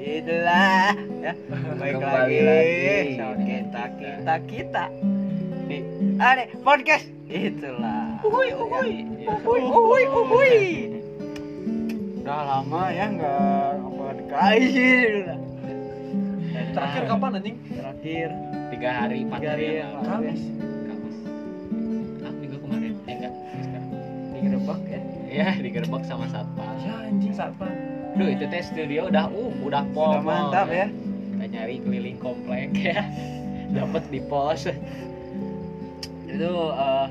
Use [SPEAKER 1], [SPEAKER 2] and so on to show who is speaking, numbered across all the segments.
[SPEAKER 1] itulah ya baik
[SPEAKER 2] Kembali
[SPEAKER 1] lagi,
[SPEAKER 2] lagi
[SPEAKER 1] sama
[SPEAKER 2] dengan
[SPEAKER 1] kita
[SPEAKER 2] kita.
[SPEAKER 1] kita kita di ada podcast itulah Ya, uhui uhui uhui uhui uhui udah lama ya nggak upload kali sih udah. Eh,
[SPEAKER 3] Terakhir kapan anjing?
[SPEAKER 1] terakhir
[SPEAKER 2] tiga hari empat
[SPEAKER 1] tiga
[SPEAKER 2] hari
[SPEAKER 1] hari
[SPEAKER 2] yang
[SPEAKER 1] yang lalu. ya.
[SPEAKER 2] lalu.
[SPEAKER 3] Kamis.
[SPEAKER 2] Kamis ah minggu kemarin eh enggak sekarang
[SPEAKER 1] digerebek ya
[SPEAKER 2] ya digerebek sama satpam
[SPEAKER 1] Iya,
[SPEAKER 3] Ya anjing satpam.
[SPEAKER 2] Duh itu teh studio udah uh udah pol
[SPEAKER 1] sudah mantap ya
[SPEAKER 2] Kita nyari keliling komplek ya. Dapat di pos.
[SPEAKER 1] itu eh,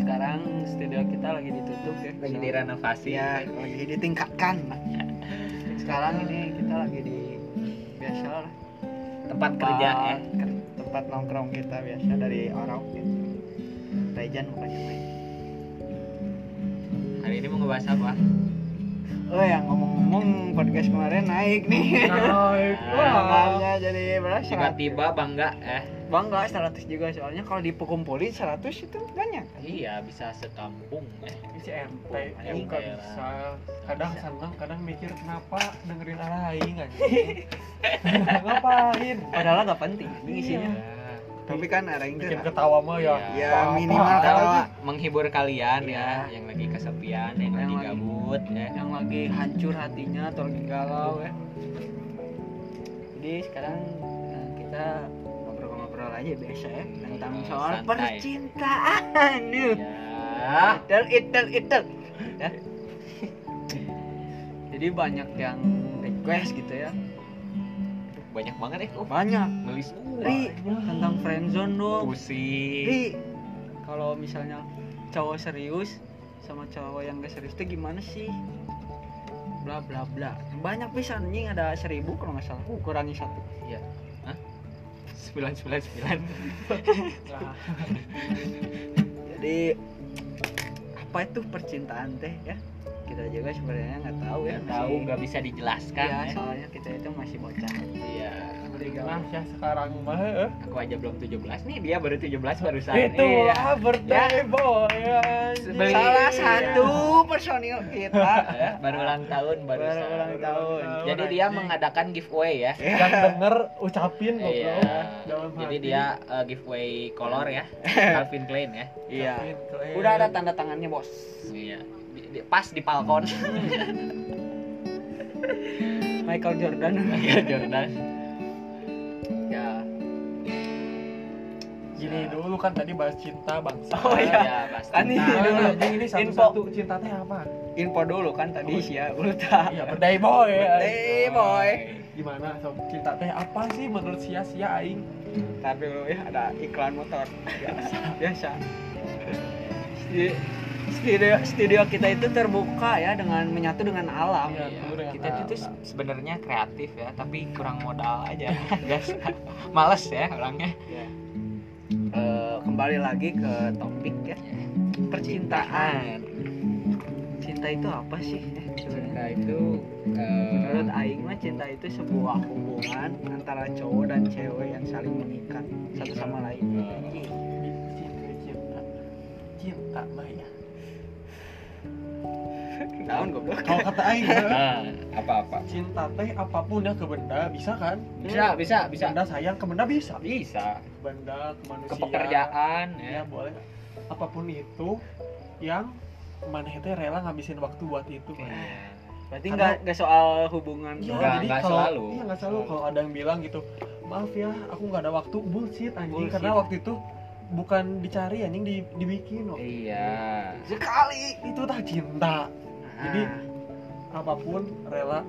[SPEAKER 1] sekarang studio kita lagi ditutup ya
[SPEAKER 2] Lagi
[SPEAKER 1] So,
[SPEAKER 2] direnovasi.
[SPEAKER 1] ya lagi ditingkatkan sekarang ini kita lagi di biasa lah
[SPEAKER 2] Tempat kerja ya.
[SPEAKER 1] Ker- tempat nongkrong kita biasa dari orang gitu Rejan bukannya main
[SPEAKER 2] Hari ini mau ngebahas apa?
[SPEAKER 1] oh yang ngomong-ngomong podcast kemarin naik nih
[SPEAKER 3] Naik. Wah.
[SPEAKER 1] Namanya jadi berapa?
[SPEAKER 2] Tiba-tiba bangga eh.
[SPEAKER 1] Bangga 100 juga soalnya kalau dikumpulin 100 itu banyak.
[SPEAKER 2] Iya bisa sekampung
[SPEAKER 1] Iya.
[SPEAKER 2] eh.
[SPEAKER 3] Si MT,
[SPEAKER 2] Anjing,
[SPEAKER 3] MK
[SPEAKER 2] kayak
[SPEAKER 3] bisa. Kadang
[SPEAKER 2] Bisa.
[SPEAKER 3] seneng, kadang mikir kenapa dengerin aing anjing. Ngapain?
[SPEAKER 1] Padahal nggak penting ini isinya.
[SPEAKER 2] Ya.
[SPEAKER 1] Tapi kan ada yang
[SPEAKER 3] Bikin ketawa mah ya.
[SPEAKER 1] Ya,
[SPEAKER 3] Apa-apa.
[SPEAKER 1] minimal
[SPEAKER 2] Oh, iya. Kita
[SPEAKER 1] ketawa.
[SPEAKER 2] menghibur kalian
[SPEAKER 1] Iya.
[SPEAKER 2] ya yang lagi kesepian, yang,
[SPEAKER 1] Yang
[SPEAKER 2] lagi
[SPEAKER 1] lagi-
[SPEAKER 2] gabut ya.
[SPEAKER 1] yang lagi hancur hatinya atau lagi galau ya. Jadi sekarang eh, kita ngobrol-ngobrol aja biasa ya tentang
[SPEAKER 2] Ngobrol
[SPEAKER 1] soal
[SPEAKER 2] santai.
[SPEAKER 1] percintaan. Yuh.
[SPEAKER 2] Ya.
[SPEAKER 1] Itel itel itel. Ya. Jadi banyak yang request gitu ya.
[SPEAKER 2] Banyak banget ya. Uh,
[SPEAKER 1] Banyak.
[SPEAKER 2] nulis semua.
[SPEAKER 1] Ri tentang friendzone dong.
[SPEAKER 2] Pusing.
[SPEAKER 1] Ri kalau misalnya cowok serius sama cowok yang gak serius itu gimana sih? Bla bla bla. Banyak pisan anjing ada seribu kalau nggak salah. Uh, Kurangi satu.
[SPEAKER 2] Sembilan sembilan sembilan.
[SPEAKER 3] Nah,
[SPEAKER 1] Jadi apa itu percintaan teh ya? Kita juga sebenarnya nggak tahu ya.
[SPEAKER 2] Nggak tahu
[SPEAKER 1] masih-
[SPEAKER 2] nggak bisa dijelaskan.
[SPEAKER 1] Ya,
[SPEAKER 2] ya.
[SPEAKER 1] soalnya kita itu masih bocah.
[SPEAKER 2] Iya.
[SPEAKER 3] Nah, ya sekarang mah eh.
[SPEAKER 2] Aku aja belum 17 nih, dia baru 17 barusan.
[SPEAKER 3] Itu
[SPEAKER 2] Iya.
[SPEAKER 3] lah birthday boy anjing.
[SPEAKER 2] Sebeli-
[SPEAKER 1] Salah
[SPEAKER 2] Iya.
[SPEAKER 1] satu personil kita ya.
[SPEAKER 2] Baru ulang tahun barusan.
[SPEAKER 1] Baru ulang tahun. Eh,
[SPEAKER 2] Jadi dia mengadakan giveaway ya.
[SPEAKER 3] yang denger ucapin goblok
[SPEAKER 2] Iya.
[SPEAKER 3] Dalam
[SPEAKER 2] Jadi
[SPEAKER 3] hati.
[SPEAKER 2] dia eh, giveaway kolor ya. Calvin Klein ya.
[SPEAKER 1] Iya.
[SPEAKER 3] Ucapin, keren.
[SPEAKER 1] Udah ada tanda tangannya, Bos.
[SPEAKER 2] Iya. Di- di- Pas di Falcon.
[SPEAKER 1] Hmm. Michael Jordan.
[SPEAKER 2] Iya, Jordan.
[SPEAKER 1] ya.
[SPEAKER 3] Gini dulu kan tadi bahas cinta bangsa.
[SPEAKER 1] Oh, iya.
[SPEAKER 2] pasti.
[SPEAKER 1] Kan ini
[SPEAKER 3] Nah,
[SPEAKER 1] dulu.
[SPEAKER 3] anjing ini
[SPEAKER 1] Info.
[SPEAKER 3] satu-satu cinta teh apa?
[SPEAKER 1] Info dulu kan tadi sih ya, ulta.
[SPEAKER 3] Iya, birthday boy.
[SPEAKER 1] Birthday.
[SPEAKER 3] anjing.
[SPEAKER 1] Hey, boy.
[SPEAKER 3] Gimana sob cinta teh apa sih menurut sia-sia aing?
[SPEAKER 1] Ntar dulu ya ada iklan motor biasa. biasa. Sti- Studio, studio kita itu terbuka ya dengan menyatu dengan alam.
[SPEAKER 3] Iya, betul dengan
[SPEAKER 2] kita
[SPEAKER 3] alam.
[SPEAKER 2] itu se- sebenarnya kreatif ya tapi kurang modal aja Gas. males ya orangnya
[SPEAKER 1] Ya. Eh, kembali lagi ke topik ya percintaan. Cinta itu apa sih? eh, sebenarnya?
[SPEAKER 2] Nah, itu eh,
[SPEAKER 1] Menurut Aing mah cinta itu sebuah hubungan antara cowok dan cewek yang saling mengikat satu sama lain. Iya.
[SPEAKER 3] Ih, Cinta, cinta. Cinta mah ya.
[SPEAKER 1] Tahun goblok.
[SPEAKER 3] Kalau kata aing
[SPEAKER 2] ya.
[SPEAKER 3] bener.
[SPEAKER 2] apa apa
[SPEAKER 3] cinta teh apapun ya ke benda bisa kan?
[SPEAKER 2] bisa bisa bisa
[SPEAKER 3] Benda sayang ke benda bisa.
[SPEAKER 2] bisa
[SPEAKER 3] Benda ke manusia.
[SPEAKER 2] ke pekerjaan
[SPEAKER 3] ya
[SPEAKER 2] ya
[SPEAKER 3] boleh apapun itu yang mana itu rela ngabisin waktu buat itu
[SPEAKER 2] Iya.
[SPEAKER 1] Berarti nggak nggak soal hubungan
[SPEAKER 3] Iya,
[SPEAKER 2] Nggak-
[SPEAKER 3] jadi
[SPEAKER 2] nggak
[SPEAKER 3] kalau-
[SPEAKER 2] selalu.
[SPEAKER 3] iya nggak selalu kalau ada yang bilang gitu maaf ya aku nggak ada waktu bullshit anjing
[SPEAKER 1] Bullshit.
[SPEAKER 3] karena waktu itu bukan dicari anjing di- dibikin loh
[SPEAKER 2] iya
[SPEAKER 1] sekali.
[SPEAKER 3] itu tah cinta
[SPEAKER 1] Ah,
[SPEAKER 3] Jadi, apapun rela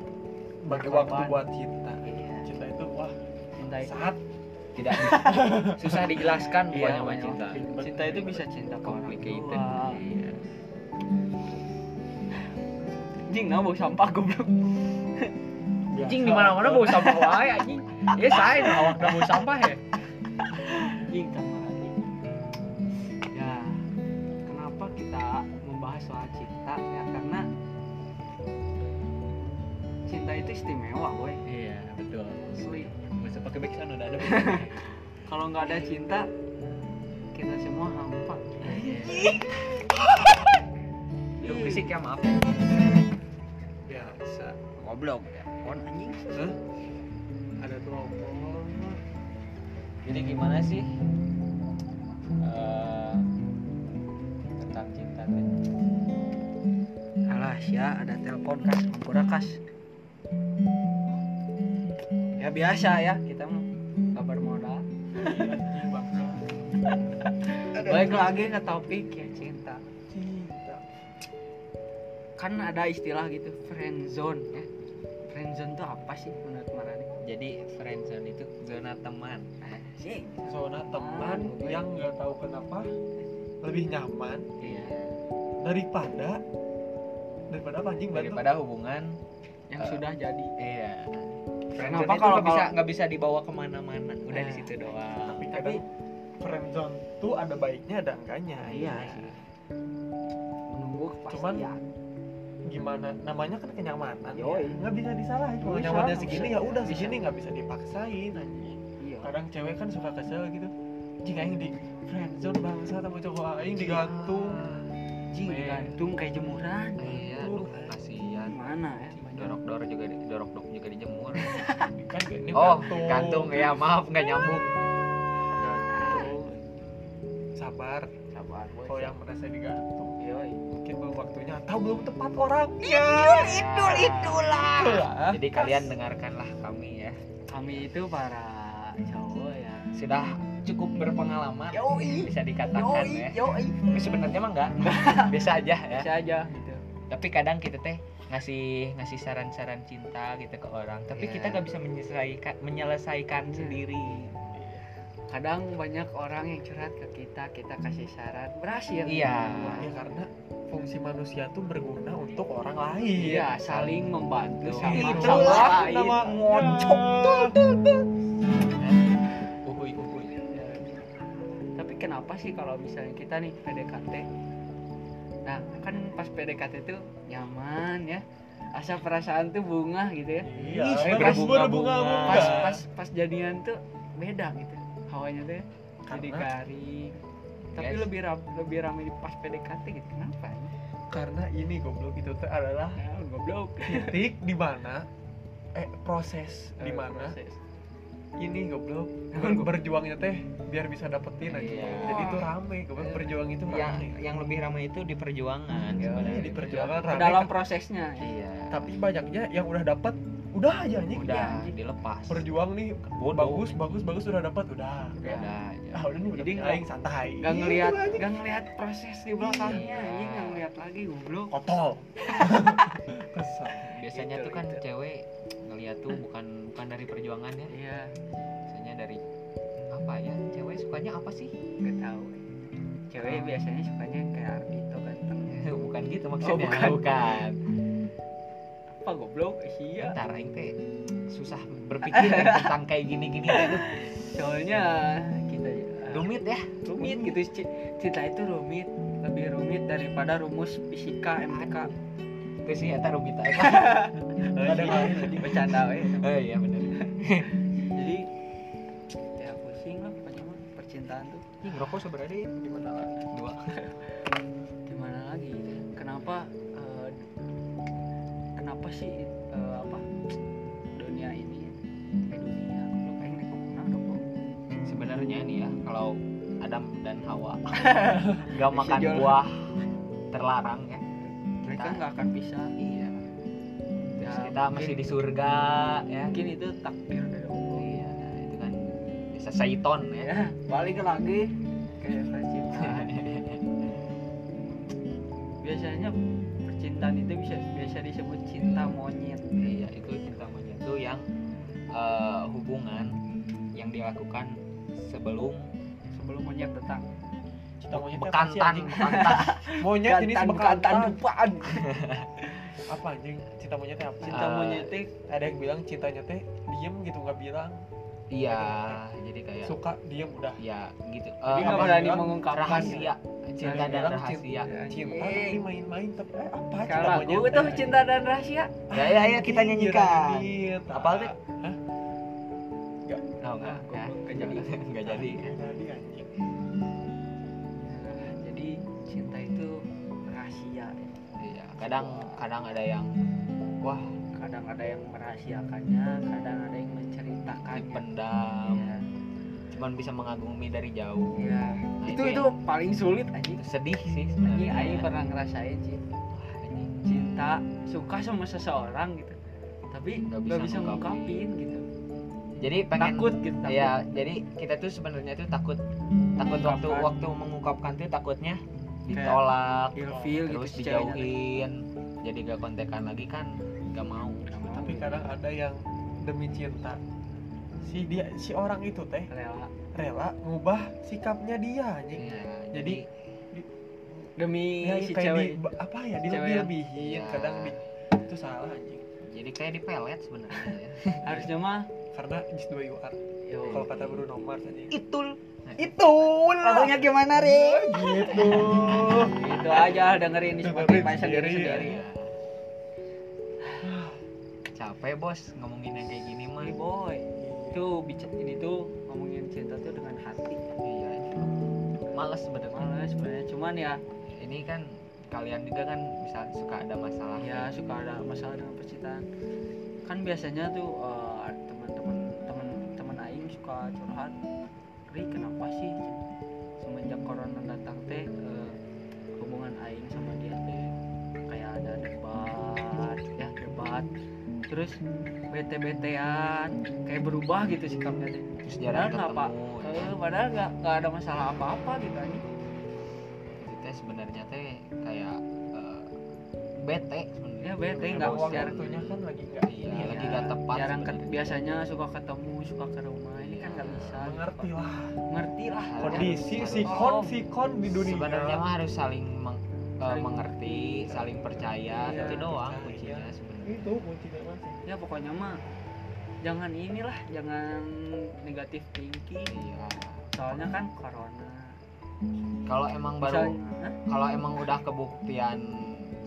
[SPEAKER 3] bagi
[SPEAKER 1] Berkorban.
[SPEAKER 3] waktu buat cinta
[SPEAKER 1] Iya.
[SPEAKER 3] cinta itu wah
[SPEAKER 1] cinta itu
[SPEAKER 3] saat
[SPEAKER 2] tidak susah dijelaskan
[SPEAKER 1] Iya,
[SPEAKER 2] pokoknya mah
[SPEAKER 1] banyak
[SPEAKER 2] cinta
[SPEAKER 1] cinta itu bisa cinta ke orang
[SPEAKER 2] complicated
[SPEAKER 1] tua.
[SPEAKER 2] Iya.
[SPEAKER 1] Jing, nah bau sampah goblok.
[SPEAKER 3] biasa.
[SPEAKER 2] Anjing di mana-mana bau sampah wae anjing. Ya saya di awak bau sampah ya.
[SPEAKER 1] Jing, kamar Ya, kenapa kita membahas soal cinta? Ya karena cinta itu istimewa, boy.
[SPEAKER 2] Iya, betul.
[SPEAKER 1] Asli.
[SPEAKER 2] Masa pakai back sound udah ada.
[SPEAKER 1] Kalau nggak ada cinta, kita semua hampa.
[SPEAKER 2] Lu fisik ya maaf.
[SPEAKER 3] biasa
[SPEAKER 2] Goblok. Kon anjing.
[SPEAKER 1] Hah?
[SPEAKER 3] ada telepon
[SPEAKER 2] jadi gimana sih eh, tentang cinta teh
[SPEAKER 1] Alah ya ada telepon kas Hampura kas Ya biasa ya kita mah nggak bermodal Baik lagi ke topik ya cinta
[SPEAKER 3] cinta
[SPEAKER 1] Kan ada istilah gitu friend zone ya Friend zone tuh apa sih menurut Marani?
[SPEAKER 2] jadi friendzone itu zona teman
[SPEAKER 1] Sih
[SPEAKER 3] zona teman
[SPEAKER 1] Ah,
[SPEAKER 3] yang nggak tahu kenapa lebih nyaman
[SPEAKER 2] iya
[SPEAKER 3] daripada daripada apa anjing batu
[SPEAKER 2] daripada hubungan
[SPEAKER 1] yang
[SPEAKER 2] Eh.
[SPEAKER 1] sudah jadi
[SPEAKER 2] iya
[SPEAKER 1] Kenapa
[SPEAKER 2] friendzone itu
[SPEAKER 1] kalau-
[SPEAKER 2] nggak bisa
[SPEAKER 1] kalau-
[SPEAKER 2] nggak bisa dibawa kemana-mana udah
[SPEAKER 1] Nah.
[SPEAKER 2] di situ doang
[SPEAKER 3] tapi
[SPEAKER 1] Tapi-
[SPEAKER 3] kadang friendzone tuh ada baiknya ada enggaknya
[SPEAKER 1] Nah, iya sih menunggu kepastian
[SPEAKER 3] gimana namanya kan kenyamanan ya.
[SPEAKER 1] Yoi.
[SPEAKER 3] nggak bisa disalahin kalau
[SPEAKER 1] Nggak bisa,
[SPEAKER 3] nyamannya
[SPEAKER 1] nggak
[SPEAKER 3] segini
[SPEAKER 1] bisa.
[SPEAKER 3] ya udah
[SPEAKER 1] Nggak bisa.
[SPEAKER 3] segini nggak bisa dipaksain anjing
[SPEAKER 1] iya
[SPEAKER 3] kadang cewek kan suka kesel gitu jing aing di friendzone bangsa sama cowok aing digantung
[SPEAKER 1] Ji,
[SPEAKER 3] Weh.
[SPEAKER 1] gantung kayak jemuran
[SPEAKER 2] iya aduh kasihan
[SPEAKER 1] mana ya
[SPEAKER 2] dorok dor juga di- dorok dok juga dijemur
[SPEAKER 3] kan ini
[SPEAKER 2] oh gantung ya maaf nggak nyambung
[SPEAKER 3] gantung sabar
[SPEAKER 1] sabar boy
[SPEAKER 3] kalau yang merasa digantung
[SPEAKER 1] Yoi. Ah,
[SPEAKER 3] mungkin belum waktunya atau belum tepat orangnya
[SPEAKER 1] Iya, Idul itulah.
[SPEAKER 3] Itulah.
[SPEAKER 2] jadi kalian dengarkanlah kami ya
[SPEAKER 1] Kami itu para cowok ya.
[SPEAKER 2] sudah cukup berpengalaman
[SPEAKER 1] Yoi.
[SPEAKER 2] bisa dikatakan
[SPEAKER 1] Yoi,
[SPEAKER 2] ya
[SPEAKER 1] yoi.
[SPEAKER 2] tapi sebenarnya mah enggak biasa aja ya
[SPEAKER 1] Bisa aja gitu.
[SPEAKER 2] tapi kadang kita teh ngasih ngasih saran-saran cinta gitu ke orang tapi
[SPEAKER 1] Iya.
[SPEAKER 2] kita nggak bisa menyelesaikan menyelesaikan
[SPEAKER 1] Iya.
[SPEAKER 2] sendiri
[SPEAKER 1] Kadang banyak orang yang curhat ke kita, kita kasih saran berhasil.
[SPEAKER 2] Iya.
[SPEAKER 3] ya karena fungsi manusia tuh berguna untuk orang lain
[SPEAKER 1] Iya, saling membantu
[SPEAKER 2] Tuh.
[SPEAKER 1] sama
[SPEAKER 2] Itulah
[SPEAKER 1] sama lain.
[SPEAKER 3] nama
[SPEAKER 1] Ngocok.
[SPEAKER 2] uhuy uhuy
[SPEAKER 3] Iya,
[SPEAKER 1] Tapi kenapa sih kalau misalnya kita nih PDKT? Nah, kan pas PDKT itu nyaman ya. Asa perasaan tuh bunga gitu ya.
[SPEAKER 3] Iya,
[SPEAKER 2] Ih,
[SPEAKER 3] ini
[SPEAKER 2] berbunga-bunga.
[SPEAKER 3] berbunga-bunga.
[SPEAKER 1] pas pas pas jadian tuh beda gitu hawanya tuh ya. jadi
[SPEAKER 3] Karena-
[SPEAKER 1] garing tapi
[SPEAKER 2] Guys.
[SPEAKER 1] lebih rap, lebih ramai di pas PDKT gitu kenapa ya?
[SPEAKER 3] karena ini goblok itu tuh adalah
[SPEAKER 1] Nah, goblok
[SPEAKER 3] titik di mana eh proses di mana
[SPEAKER 1] Proses.
[SPEAKER 3] ini goblok ber- berjuangnya teh biar bisa dapetin aja
[SPEAKER 2] Iya.
[SPEAKER 3] jadi itu rame goblok berjuang itu rame
[SPEAKER 2] yang yang lebih ramai itu di perjuangan sebenarnya
[SPEAKER 3] di perjuangan rame
[SPEAKER 1] dalam prosesnya ya.
[SPEAKER 2] iya
[SPEAKER 3] tapi banyaknya yang udah dapat udah aja anjing
[SPEAKER 2] udah
[SPEAKER 1] iya.
[SPEAKER 2] dilepas
[SPEAKER 3] berjuang nih
[SPEAKER 2] bodoh
[SPEAKER 3] bagus bagus bagus udah dapat udah
[SPEAKER 2] udah aja
[SPEAKER 3] ah udah nih udah
[SPEAKER 1] Jadi
[SPEAKER 3] punya
[SPEAKER 1] nggak-
[SPEAKER 3] aing santai
[SPEAKER 1] nggak ngelihat nggak ngelihat proses di belakangnya
[SPEAKER 2] Iya.
[SPEAKER 1] ini nggak ngelihat lagi goblok
[SPEAKER 3] kotor kesel
[SPEAKER 2] biasanya
[SPEAKER 1] Gitu,
[SPEAKER 2] tuh kan
[SPEAKER 1] gitu.
[SPEAKER 2] cewek ngeliat tuh bukan bukan dari perjuangan ya
[SPEAKER 1] iya
[SPEAKER 2] biasanya dari apa ya cewek sukanya apa sih
[SPEAKER 1] nggak tahu
[SPEAKER 2] Ah.
[SPEAKER 1] cewek biasanya sukanya yang kayak Ardito ganteng Oh,
[SPEAKER 2] bukan gitu maksudnya
[SPEAKER 3] bukan.
[SPEAKER 2] bukan.
[SPEAKER 1] apa goblok iya
[SPEAKER 2] ntar aing teh susah berpikir ya tentang kayak gini-gini
[SPEAKER 1] Iya,
[SPEAKER 2] aduh,
[SPEAKER 1] soalnya kita eh,
[SPEAKER 2] rumit ya
[SPEAKER 1] rumit gitu ci- cinta itu rumit lebih rumit daripada rumus fisika MTK
[SPEAKER 2] itu sih eta rumit aja
[SPEAKER 1] ada
[SPEAKER 2] Iya.
[SPEAKER 1] bercanda we
[SPEAKER 2] oh iya bener
[SPEAKER 1] jadi ya pusing lah pokoknya mah percintaan tuh
[SPEAKER 2] ini ngerokok seberapa di mana lah dua
[SPEAKER 1] gimana lagi kenapa eh, kenapa sih eh, apa dunia ini eh dunia lu kayak nek ngomong dong Bro.
[SPEAKER 2] sebenarnya nih ya kalau Adam dan Hawa nggak
[SPEAKER 1] Bisa
[SPEAKER 2] makan
[SPEAKER 1] jual.
[SPEAKER 2] buah terlarang ya
[SPEAKER 1] mereka
[SPEAKER 2] Nah.
[SPEAKER 1] nggak akan bisa
[SPEAKER 2] iya terus
[SPEAKER 1] Ya,
[SPEAKER 2] kita masih
[SPEAKER 1] mungkin-
[SPEAKER 2] di surga ya
[SPEAKER 1] mungkin itu takdir dari Allah
[SPEAKER 2] iya nah, itu kan bisa syaiton ya
[SPEAKER 1] ya balik lagi ke percintaan biasanya percintaan itu bisa biasa disebut cinta monyet
[SPEAKER 2] iya itu cinta monyet itu yang eh, hubungan yang dilakukan sebelum
[SPEAKER 1] sebelum monyet datang
[SPEAKER 3] cinta monyet apa sih,
[SPEAKER 2] bekantan
[SPEAKER 3] anjing?
[SPEAKER 2] bekantan
[SPEAKER 3] monyet jenis bekantan
[SPEAKER 1] depan
[SPEAKER 3] apa anjing cinta monyetnya apa
[SPEAKER 1] cinta
[SPEAKER 2] Eh,
[SPEAKER 1] monyet teh
[SPEAKER 3] ada yang bilang cintanya teh diem gitu nggak bilang
[SPEAKER 2] iya jadi kayak
[SPEAKER 3] suka diem udah
[SPEAKER 2] ya gitu
[SPEAKER 1] jadi
[SPEAKER 2] Eh,
[SPEAKER 1] nggak
[SPEAKER 3] apa
[SPEAKER 1] berani
[SPEAKER 3] bilang?
[SPEAKER 1] mengungkapkan
[SPEAKER 2] rahasia
[SPEAKER 1] Jangan
[SPEAKER 2] cinta dan
[SPEAKER 3] bilang
[SPEAKER 2] rahasia Iya,
[SPEAKER 1] Iya,
[SPEAKER 3] cinta
[SPEAKER 1] Anjing.
[SPEAKER 3] tapi main-main tapi eh, apa Ah, cinta
[SPEAKER 1] kalau
[SPEAKER 3] monyet
[SPEAKER 1] aku tuh cinta dan rahasia
[SPEAKER 2] ya ya ya kita nyanyikan Apa
[SPEAKER 3] apa
[SPEAKER 2] tuh?
[SPEAKER 3] sih
[SPEAKER 2] oh, enggak
[SPEAKER 1] Nah,
[SPEAKER 2] enggak jadi enggak jadi
[SPEAKER 1] nah, jadi cinta itu rahasia
[SPEAKER 2] iya kadang kadang ada yang wah
[SPEAKER 1] kadang ada yang merahasiakannya kadang ada yang menceritakannya
[SPEAKER 2] dipendam cuman bisa mengagumi dari jauh
[SPEAKER 1] Iya.
[SPEAKER 2] Nah,
[SPEAKER 1] itu
[SPEAKER 2] itu
[SPEAKER 1] itu paling sulit anjing
[SPEAKER 2] sedih sih
[SPEAKER 1] anjing
[SPEAKER 2] sebenarnya
[SPEAKER 1] aing pernah ngerasain sih
[SPEAKER 2] Wah, anjing.
[SPEAKER 1] cinta suka sama seseorang gitu tapi
[SPEAKER 2] Nggak
[SPEAKER 1] nggak
[SPEAKER 2] bisa
[SPEAKER 1] bisa,
[SPEAKER 2] ngungkapin.
[SPEAKER 1] ngungkapin gitu
[SPEAKER 2] jadi pengen
[SPEAKER 1] takut gitu takut.
[SPEAKER 2] ya jadi kita tuh sebenarnya tuh takut takut waktu
[SPEAKER 1] Mengungkapkan.
[SPEAKER 2] waktu mengungkapkan tuh takutnya
[SPEAKER 1] Kayak
[SPEAKER 2] ditolak
[SPEAKER 1] ilfeel gitu
[SPEAKER 2] terus
[SPEAKER 1] si ceweknya.
[SPEAKER 2] dijauhin jadi gak kontekan lagi kan gak mau Iya,
[SPEAKER 3] tapi kadang ada yang demi cinta si dia si orang itu teh
[SPEAKER 1] rela
[SPEAKER 3] rela ngubah sikapnya dia anjing
[SPEAKER 2] Iya,
[SPEAKER 3] Jadi,
[SPEAKER 1] demi
[SPEAKER 3] ya,
[SPEAKER 1] si
[SPEAKER 3] kayak
[SPEAKER 1] cewek
[SPEAKER 3] di apa ya
[SPEAKER 1] si cewek Iya.
[SPEAKER 3] dilebih lebihin
[SPEAKER 2] yang-
[SPEAKER 3] kadang di, itu salah anjing
[SPEAKER 2] iya. jadi kayak dipelet sebenarnya ya.
[SPEAKER 1] harusnya mah
[SPEAKER 3] karena just the way you are
[SPEAKER 1] yo
[SPEAKER 3] kalau kata Bruno Mars anjing
[SPEAKER 2] itul
[SPEAKER 1] itu lagunya gimana ri
[SPEAKER 3] gitu
[SPEAKER 1] itu aja dengerin di Spotify
[SPEAKER 3] Dengerin
[SPEAKER 1] sendiri
[SPEAKER 3] sendiri,
[SPEAKER 1] sendiri
[SPEAKER 2] Ya. capek bos ngomongin yang kayak gini mah
[SPEAKER 1] My boy itu bicara ini tuh ngomongin cinta tuh dengan hati
[SPEAKER 2] iya males sebenarnya
[SPEAKER 1] malah sebenarnya cuman ya
[SPEAKER 2] ini kan kalian juga kan bisa suka ada masalah
[SPEAKER 1] ya suka ada masalah dengan percintaan kan biasanya tuh eh, teman-teman teman teman aing suka curhat Ri kenapa sih semenjak corona datang teh eh, hubungan aing sama dia teh kayak ada debat ya debat terus bete betean kayak berubah gitu sikapnya teh
[SPEAKER 2] terus jarang
[SPEAKER 1] Padahal
[SPEAKER 2] ketemu ya kan?
[SPEAKER 1] nggak, Eh, padahal nggak nggak ada masalah apa apa gitu aja
[SPEAKER 2] itu teh sebenarnya teh kayak eh, bete sebenarnya
[SPEAKER 1] ya bete
[SPEAKER 3] Emang
[SPEAKER 1] nggak jarang
[SPEAKER 3] waktunya kan lagi nggak
[SPEAKER 2] Iya,
[SPEAKER 3] ini ya,
[SPEAKER 2] lagi nggak tepat
[SPEAKER 1] jarang
[SPEAKER 2] sebenarnya.
[SPEAKER 1] ket- biasanya suka ketemu suka ke rumah ini kan nggak bisa gitu.
[SPEAKER 3] mengerti lah
[SPEAKER 1] ngerti lah
[SPEAKER 2] Harus-
[SPEAKER 3] kondisi
[SPEAKER 2] harus-
[SPEAKER 3] si kon si kon di dunia
[SPEAKER 2] sebenarnya mah harus saling meng- eh,
[SPEAKER 1] Saling-
[SPEAKER 2] mengerti saling percaya
[SPEAKER 1] Iya.
[SPEAKER 2] itu doang
[SPEAKER 3] Percaya. iya.
[SPEAKER 2] kuncinya sebenarnya
[SPEAKER 3] itu kuncinya mas
[SPEAKER 1] ya pokoknya mah jangan inilah jangan negatif thinking
[SPEAKER 2] iya
[SPEAKER 1] soalnya kan corona
[SPEAKER 2] kalau emang baru
[SPEAKER 1] Misalnya, Hah?
[SPEAKER 2] kalau emang udah kebuktian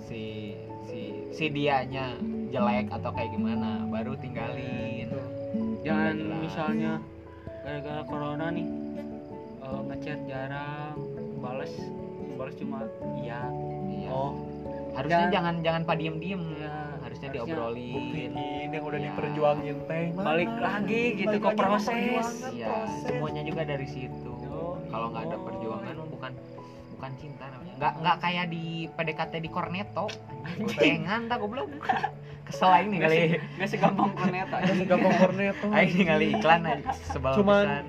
[SPEAKER 2] si si si dianya jelek atau kayak gimana baru tinggalin
[SPEAKER 1] jangan
[SPEAKER 2] jelas.
[SPEAKER 1] misalnya gara-gara corona nih eh, ngechat jarang balas balas cuma iya
[SPEAKER 2] iya.
[SPEAKER 1] oh
[SPEAKER 2] harusnya
[SPEAKER 1] jangan-
[SPEAKER 2] jangan jangan padiem diem
[SPEAKER 1] Iya,
[SPEAKER 2] harusnya
[SPEAKER 1] harusnya
[SPEAKER 2] diobrolin
[SPEAKER 3] buktiin yang udah
[SPEAKER 2] Ya.
[SPEAKER 3] diperjuangin teh mana?
[SPEAKER 1] balik lagi gitu
[SPEAKER 3] Balik
[SPEAKER 1] ke
[SPEAKER 3] lagi
[SPEAKER 1] proses
[SPEAKER 3] perjuangan,
[SPEAKER 2] iya
[SPEAKER 3] proses.
[SPEAKER 2] semuanya juga dari situ
[SPEAKER 1] Yo,
[SPEAKER 2] kalau nggak ada
[SPEAKER 1] yo.
[SPEAKER 2] perjuangan bukan bukan cinta namanya nggak nggak kayak di PDKT di Cornetto gocengan tak goblok kesel aing nih kali
[SPEAKER 1] nggak segampang corneta
[SPEAKER 3] Ada
[SPEAKER 1] anjing.
[SPEAKER 3] segampang cornetto
[SPEAKER 2] aing nih kali iklan aing sebel
[SPEAKER 3] Cuman-
[SPEAKER 2] pisan.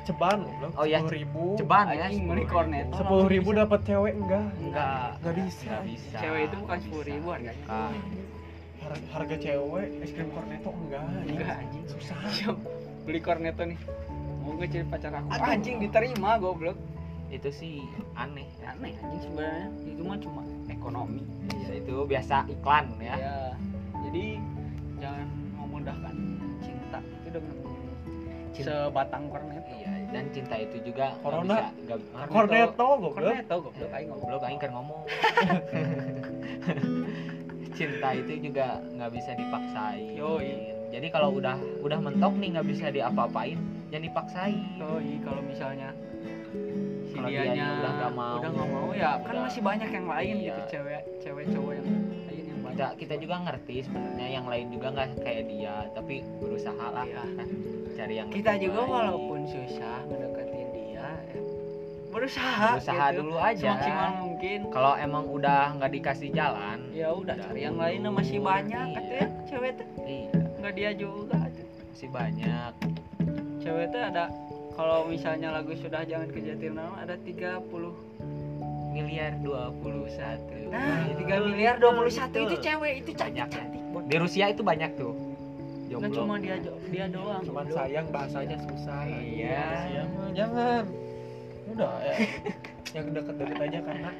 [SPEAKER 3] ceban loh
[SPEAKER 2] Oh, iya.
[SPEAKER 3] ribu
[SPEAKER 2] ceban ya
[SPEAKER 1] anjing beli corneta
[SPEAKER 3] sepuluh ribu dapat cewek enggak
[SPEAKER 1] enggak
[SPEAKER 3] nggak bisa
[SPEAKER 2] Nggak bisa
[SPEAKER 1] cewek itu bukan
[SPEAKER 2] nggak
[SPEAKER 1] sepuluh kan?
[SPEAKER 2] bisa.
[SPEAKER 1] ribu harganya
[SPEAKER 2] Ah,
[SPEAKER 3] Har- harga cewek es krim cornetto enggak
[SPEAKER 1] enggak anjing
[SPEAKER 3] susah
[SPEAKER 1] Siap, beli cornetto nih mau nggak jadi pacar aku anjing diterima goblok
[SPEAKER 2] itu sih aneh
[SPEAKER 1] aneh anjing sebenarnya itu mah cuma ekonomi
[SPEAKER 3] Iya.
[SPEAKER 2] ya, itu biasa iklan
[SPEAKER 1] ya.
[SPEAKER 2] ya
[SPEAKER 1] jadi jangan memudahkan cinta itu dengan
[SPEAKER 2] Cinta.
[SPEAKER 1] sebatang cornetto
[SPEAKER 2] iya dan cinta itu juga nggak
[SPEAKER 3] Corona.
[SPEAKER 2] bisa nggak Hah?
[SPEAKER 3] cornetto goblok
[SPEAKER 1] cornetto goblok Iya. aing ngomong
[SPEAKER 2] goblok aing kan ngomong cinta itu juga nggak bisa dipaksain
[SPEAKER 1] Yoi.
[SPEAKER 2] jadi kalau udah udah mentok nih nggak bisa diapa-apain jangan dipaksain
[SPEAKER 1] Yoi, Oh, iya, kalau misalnya si
[SPEAKER 2] Kalau
[SPEAKER 1] dianya
[SPEAKER 2] dianya udah nggak mau.
[SPEAKER 1] udah nggak mau ya kan
[SPEAKER 2] Udah.
[SPEAKER 1] masih banyak yang lain
[SPEAKER 2] Iya.
[SPEAKER 1] gitu cewek cewek cowok yang lain yang banyak
[SPEAKER 2] kita kita juga ngerti sebenarnya yang lain juga nggak kayak dia tapi berusaha lah
[SPEAKER 1] Iya.
[SPEAKER 2] kan cari yang
[SPEAKER 1] kita
[SPEAKER 2] lebih
[SPEAKER 1] juga
[SPEAKER 2] baik.
[SPEAKER 1] walaupun susah mendekatin dia eh, berusaha
[SPEAKER 2] berusaha
[SPEAKER 1] gitu.
[SPEAKER 2] dulu aja
[SPEAKER 1] semaksimal mungkin
[SPEAKER 2] kalau emang udah nggak dikasih jalan
[SPEAKER 1] ya udah cari yang lain lah, masih banyak atuh ya cewek tuh
[SPEAKER 2] iya
[SPEAKER 1] nggak dia juga atuh.
[SPEAKER 2] masih banyak
[SPEAKER 1] cewek tuh ada kalau misalnya lagu sudah jangan kejadian nama ada 30
[SPEAKER 2] miliar 21
[SPEAKER 1] nah
[SPEAKER 2] Gitu.
[SPEAKER 1] 3 miliar 21 itu
[SPEAKER 2] Betul.
[SPEAKER 1] cewek itu
[SPEAKER 2] Banyak.
[SPEAKER 1] cantik cantik Bon.
[SPEAKER 2] di Rusia itu banyak tuh
[SPEAKER 1] nggak
[SPEAKER 2] jomblo
[SPEAKER 1] cuma dia jo- dia doang
[SPEAKER 3] cuman sayang bahasanya susah
[SPEAKER 2] Iya.
[SPEAKER 3] Iya, mah, jangan udah ya yang deket-deket aja karena